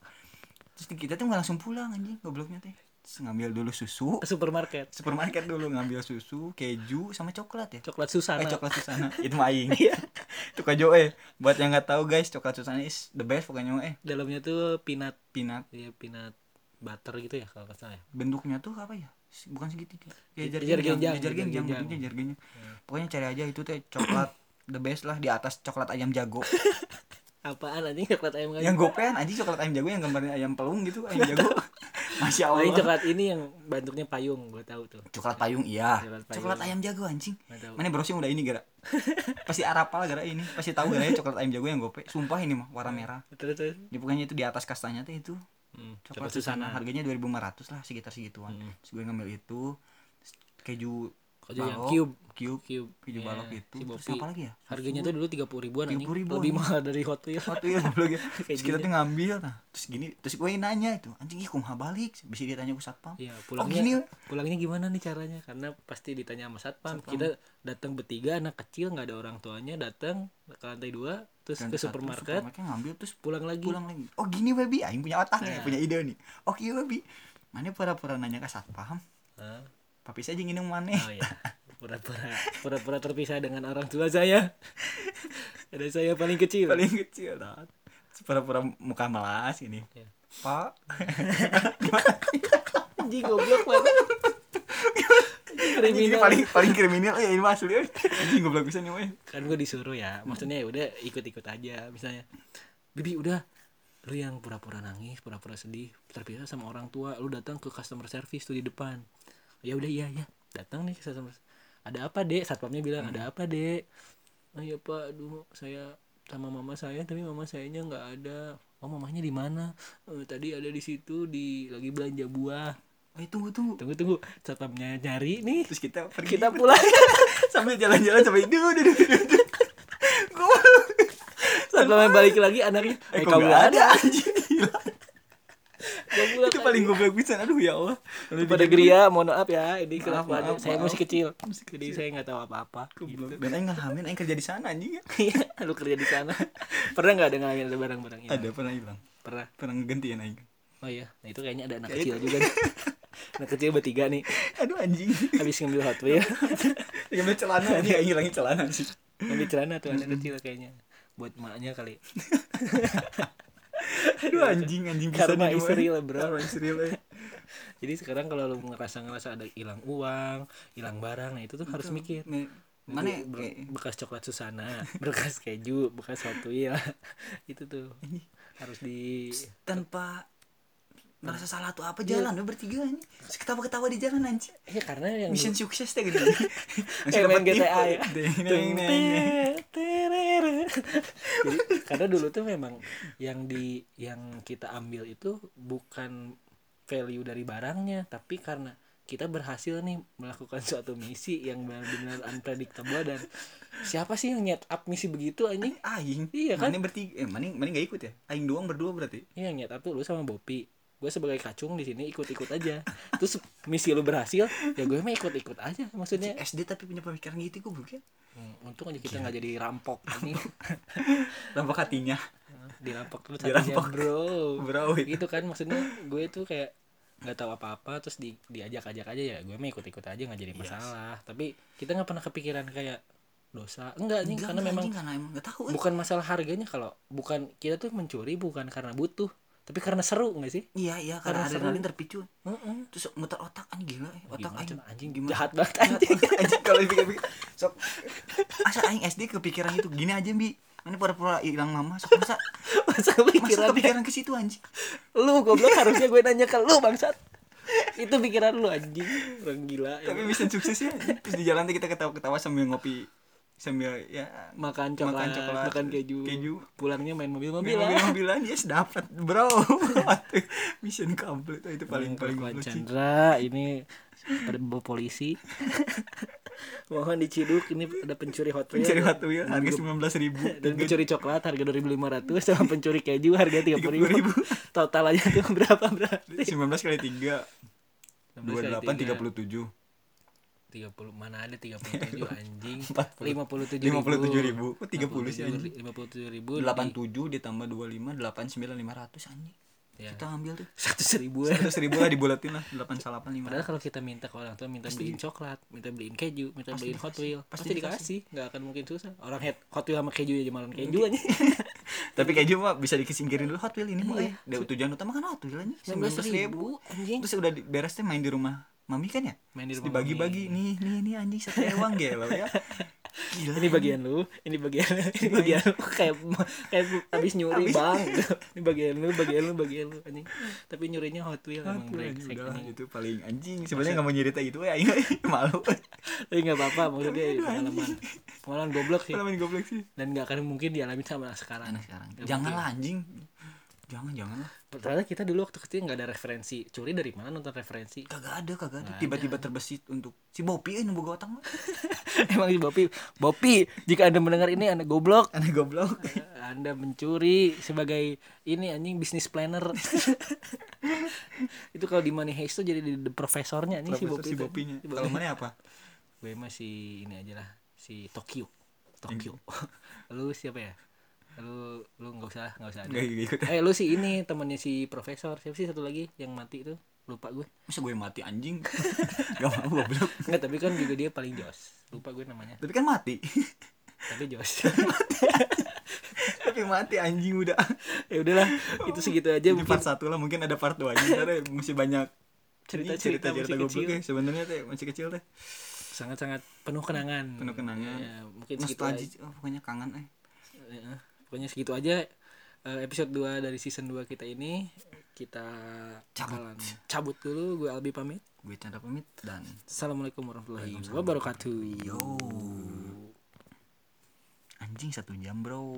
terus kita tuh nggak langsung pulang anjing gobloknya teh terus ngambil dulu susu
ke supermarket
supermarket dulu ngambil susu keju sama coklat ya
coklat susana
eh coklat susana itu mah aing
Iya.
itu kajo eh buat yang nggak tahu guys coklat susana is the best pokoknya eh
dalamnya tuh peanut
peanut
ya peanut butter gitu ya kalau nggak salah ya
bentuknya tuh apa ya Se- bukan segitiga ya
Jajar
jajar
genjang,
genjang
jajar
jajar genjang
genjang.
bentuknya jajar genjang pokoknya cari aja itu teh coklat the best lah di atas coklat ayam jago
apaan anjing coklat ayam kan
yang gopean aja coklat ayam jago yang gambarnya ayam pelung gitu ayam jago masya
Lain
allah
coklat Nah, ini yang bentuknya payung gue tahu tuh
coklat payung iya
Coklat payung.
coklat ayam jago anjing
Nggak tahu.
mana browsing udah ini gara pasti arapal gara ini pasti tahu gara ya, coklat ayam jago yang gope sumpah ini mah warna merah
terus terus
ya pokoknya itu di atas kastanya teh itu
Hmm,
coklat susana harganya 2500 lah sekitar segituan
Hmm.
terus gue ngambil itu terus keju
Keju yang
balok,
cube.
cube
cube
video
Iya,
balok itu
si
terus
Bopi.
apa lagi ya
harganya tuh dulu tiga puluh ribuan anjing
30.000
lebih
anjing.
mahal dari hot wheel
waktu itu belum ya terus kita
Kejunya.
tuh ngambil nah terus gini terus gue nanya itu anjing ih kumaha balik bisa ditanya ke satpam
Iya,
oh gini
pulangnya pulangnya gimana nih caranya? Karena pasti ditanya sama satpam.
Satpam.
Kita datang bertiga anak kecil nggak ada orang tuanya datang ke lantai dua terus
Dan
ke
satu
supermarket
supermarket ngambil terus
pulang lagi.
pulang lagi oh gini webi aing punya otak
Nah.
nih punya ide nih oke webi mana pura-pura nanya ke satpam
Hah?
papi saja nginum mana
Oh iya. Pura-pura pura-pura terpisah dengan orang tua saya. ada saya paling kecil.
paling kecil lah Terus pura-pura muka melas ini
Iya.
pak
Anjing goblok banget. Anjing
ini
Kriminal.
paling paling kriminal ya ini masuk ya anjing goblok bisa nih weh
kan gue disuruh ya maksudnya ya udah ikut-ikut aja misalnya bibi udah lu yang pura-pura nangis pura-pura sedih terpisah sama orang tua lu datang ke customer service tuh di depan ya udah iya ya datang nih ke customer ada apa dek satpamnya bilang ada apa dek oh iya pak aduh saya sama mama saya tapi mama sayanya nggak ada oh mamanya di mana "Eh, tadi ada di situ di lagi belanja buah
eh tunggu tunggu
tunggu tunggu satpamnya nyari nih
terus kita pergi
kita pulang
sambil jalan-jalan sampai duh duh duh, duh duh. Gua-
satpamnya balik lagi anaknya
eh
eh,
kok
kamu
nggak
ada
ada anjing Gila.
kamu
itu paling goblok pisan aduh ya Allah
pada geria mohon maaf ya ini
Maaf,
kelakuannya
maaf,
saya
maaf.
masih kecil
Masih
jadi saya nggak tahu apa-apa
Goblok. dan aing ngalamin aing kerja di sana anjing ya
Iya, lu kerja di sana pernah nggak ada ngalamin ada barang-barang ini
ada pernah hilang
pernah
pernah ngegantiin aing
oh iya nah itu kayaknya ada anak
Ya,
kecil juga nih. anak kecil bertiga nih
aduh anjing
habis ngambil hot wheel
ngambil celana anjing aing ngilangin celana sih
ngambil celana tuh anak kecil kayaknya buat maknya kali
Aduh anjing anjing bisa
Karma
nih,
is
Noel.
real, bro.
Karma is real, eh.
jadi sekarang kalau lu ngerasa ngerasa ada hilang uang hilang barang nah itu tuh harus mikir
Nih, mana
ya?
Itu be-
kayak-
bekas coklat Susana bekas keju bekas Hot Wheels itu tuh harus di
tanpa merasa salah tuh apa
Iya.
jalan lo bertiga ini ketawa ketawa di jalan anjing
ya karena yang
mission
dulu-
sukses deh gitu
eh, main GTA ya
Deng, deng,
Tung,
deng,
te-
deng.
terere. Jadi, karena dulu tuh memang yang di yang kita ambil itu bukan value dari barangnya tapi karena kita berhasil nih melakukan suatu misi yang benar-benar unpredictable dan siapa sih yang nyet up misi begitu anjing
aing
Iya kan?
mana bertiga eh mana mana gak ikut ya aing doang berdua berarti
Iya yang nyetap tuh lu sama Bopi gue sebagai kacung di sini ikut-ikut aja terus misi lu berhasil ya gue mah ikut-ikut aja
Si
maksudnya
SD tapi punya pemikiran gitu gue bukan
hmm, untung aja kita nggak jadi rampok ini
tampak hatinya
dirampok terus
Dirampok.
hatinya, bro
Bro, itu.
gitu kan maksudnya gue tuh kayak nggak tahu apa-apa terus di, diajak-ajak aja ya gue mah ikut-ikut aja nggak jadi masalah tapi kita nggak pernah kepikiran kayak dosa enggak nih
Enggak,
karena
enggak,
memang
anjing, karena emang gak tahu eh.
bukan masalah harganya kalau bukan kita tuh mencuri bukan karena butuh tapi karena seru nggak sih
iya iya karena
Karena seru.
adrenalin terpicu
Heeh.
terus muter otak anjing gila eh. otak
Gimana,
anjing
Cen? anjing
gimana?
jahat banget anjing
anjing kalau dipikir-pikir sok masa aing SD kepikiran gitu gini aja bi ini pura-pura hilang mama sok masa masa
masa pikirannya
kepikiran ke situ anjing
lu goblok harusnya gue nanya ke lu bangsat itu pikiran lu anjing orang gila ya.
Tapi mission sukses ya. Terus di jalan tuh kita ketawa-ketawa sambil ngopi sambil ya
makan coklat makan,
coklat,
keju.
keju.
pulangnya main mobil-mobilan
Mobil-mobilan yes dapat bro. Mission complete Oh, itu paling Iya. paling
Perempuan
lucu.
Chandra ini ada bawa polisi mohon diciduk ini ada pencuri hot Wheels.
Mencari Hot Wheels ya, harga sembilan belas ribu.
dan pencuri coklat harga 2500 sama pencuri keju harga 30.000 total aja tuh berapa berarti
Sembilan belas kali tiga. Dua delapan tiga puluh tujuh.
30 mana ada 37 anjing
40.
57
57.000. Kok 30 Oh, sih, anjing?
57 ribu
Delapan tujuh ditambah dua lima delapan sembilan lima ratus anjing. Iya.
Ya.
kita ambil tuh
seratus ribu
Terus ribu lah dibulatin lah delapan salapan lima.
padahal kalau kita minta ke orang tua minta beliin coklat minta beliin keju minta beliin hot wheel pasti, dikasih Iya. nggak akan mungkin susah orang head hot wheel sama keju aja malam keju aja
Tapi keju mah bisa disingkirin dulu Hot Wheels ini mah. eh. Dia tujuan utama kan Hot Wheels anjing. Sembilan belas ribu.
anjing
Terus udah di- beres teh main di rumah mami kan ya?
Main di
Terus
rumah iya.
dibagi-bagi nih nih nih anjing satu ewang gelo ya. Gila.
ini bagian lu ini bagian ini bagian lu kayak kayak Iya. Eh, abis nyuri bang ini bagian lu bagian lu bagian lu anjing tapi nyurinya hot wheel emang
Aduh, anjing,
brengsek
udah
anjing
itu gitu, paling anjing sebenarnya nggak mau nyerita itu ya ini malu
tapi nggak apa-apa maksudnya ya, pengalaman pengalaman goblok sih
malah main goblok sih
dan nggak akan mungkin dialami sama anak sekarang
anak sekarang janganlah anjing jangan jangan lah
ternyata kita dulu waktu kecil nggak ada referensi curi dari mana nonton referensi
kagak ada kagak ada tiba-tiba terbesit untuk si Bopi eh nunggu gue otak mah.
emang si Bopi Bopi jika anda mendengar ini anda goblok
aneh goblok
anda mencuri sebagai ini anjing bisnis planner itu kalau di Money Heist tuh jadi di di profesornya nih si
Profesor
Bopi
si
tuh.
bopinya
Si Bopi.
kalau mana apa
gue masih ini aja lah si Tokyo Tokyo lu siapa ya lu lu nggak usah lah, nggak usah
Iya.
ada
nggak iya. ikut
eh lu sih ini temannya si profesor siapa sih satu lagi yang mati itu lupa gue
masa gue mati anjing gak mau goblok
Enggak tapi kan juga dia paling jos lupa gue namanya
tapi kan mati
tapi jos
tapi mati anjing udah
ya udlah itu segitu aja
ini
mungkin
part satu lah mungkin ada part dua aja ntar ya, masih banyak
cerita
ini
cerita
cerita
masih
goblok
kecil
ya sebenarnya teh masih kecil teh
sangat sangat penuh kenangan
Penuh kenangan.
Ya, mungkin segitu aja
nostalgia oh, pokoknya kangen eh
Ya, pokoknya segitu aja eh, episode 2 dari season 2 kita ini kita
Cabut.
bakalan cabut dulu gue Albi pamit
gue Chandra pamit dan
Assalamualaikum warahmatullahi wabarakatuh
yo anjing satu jam bro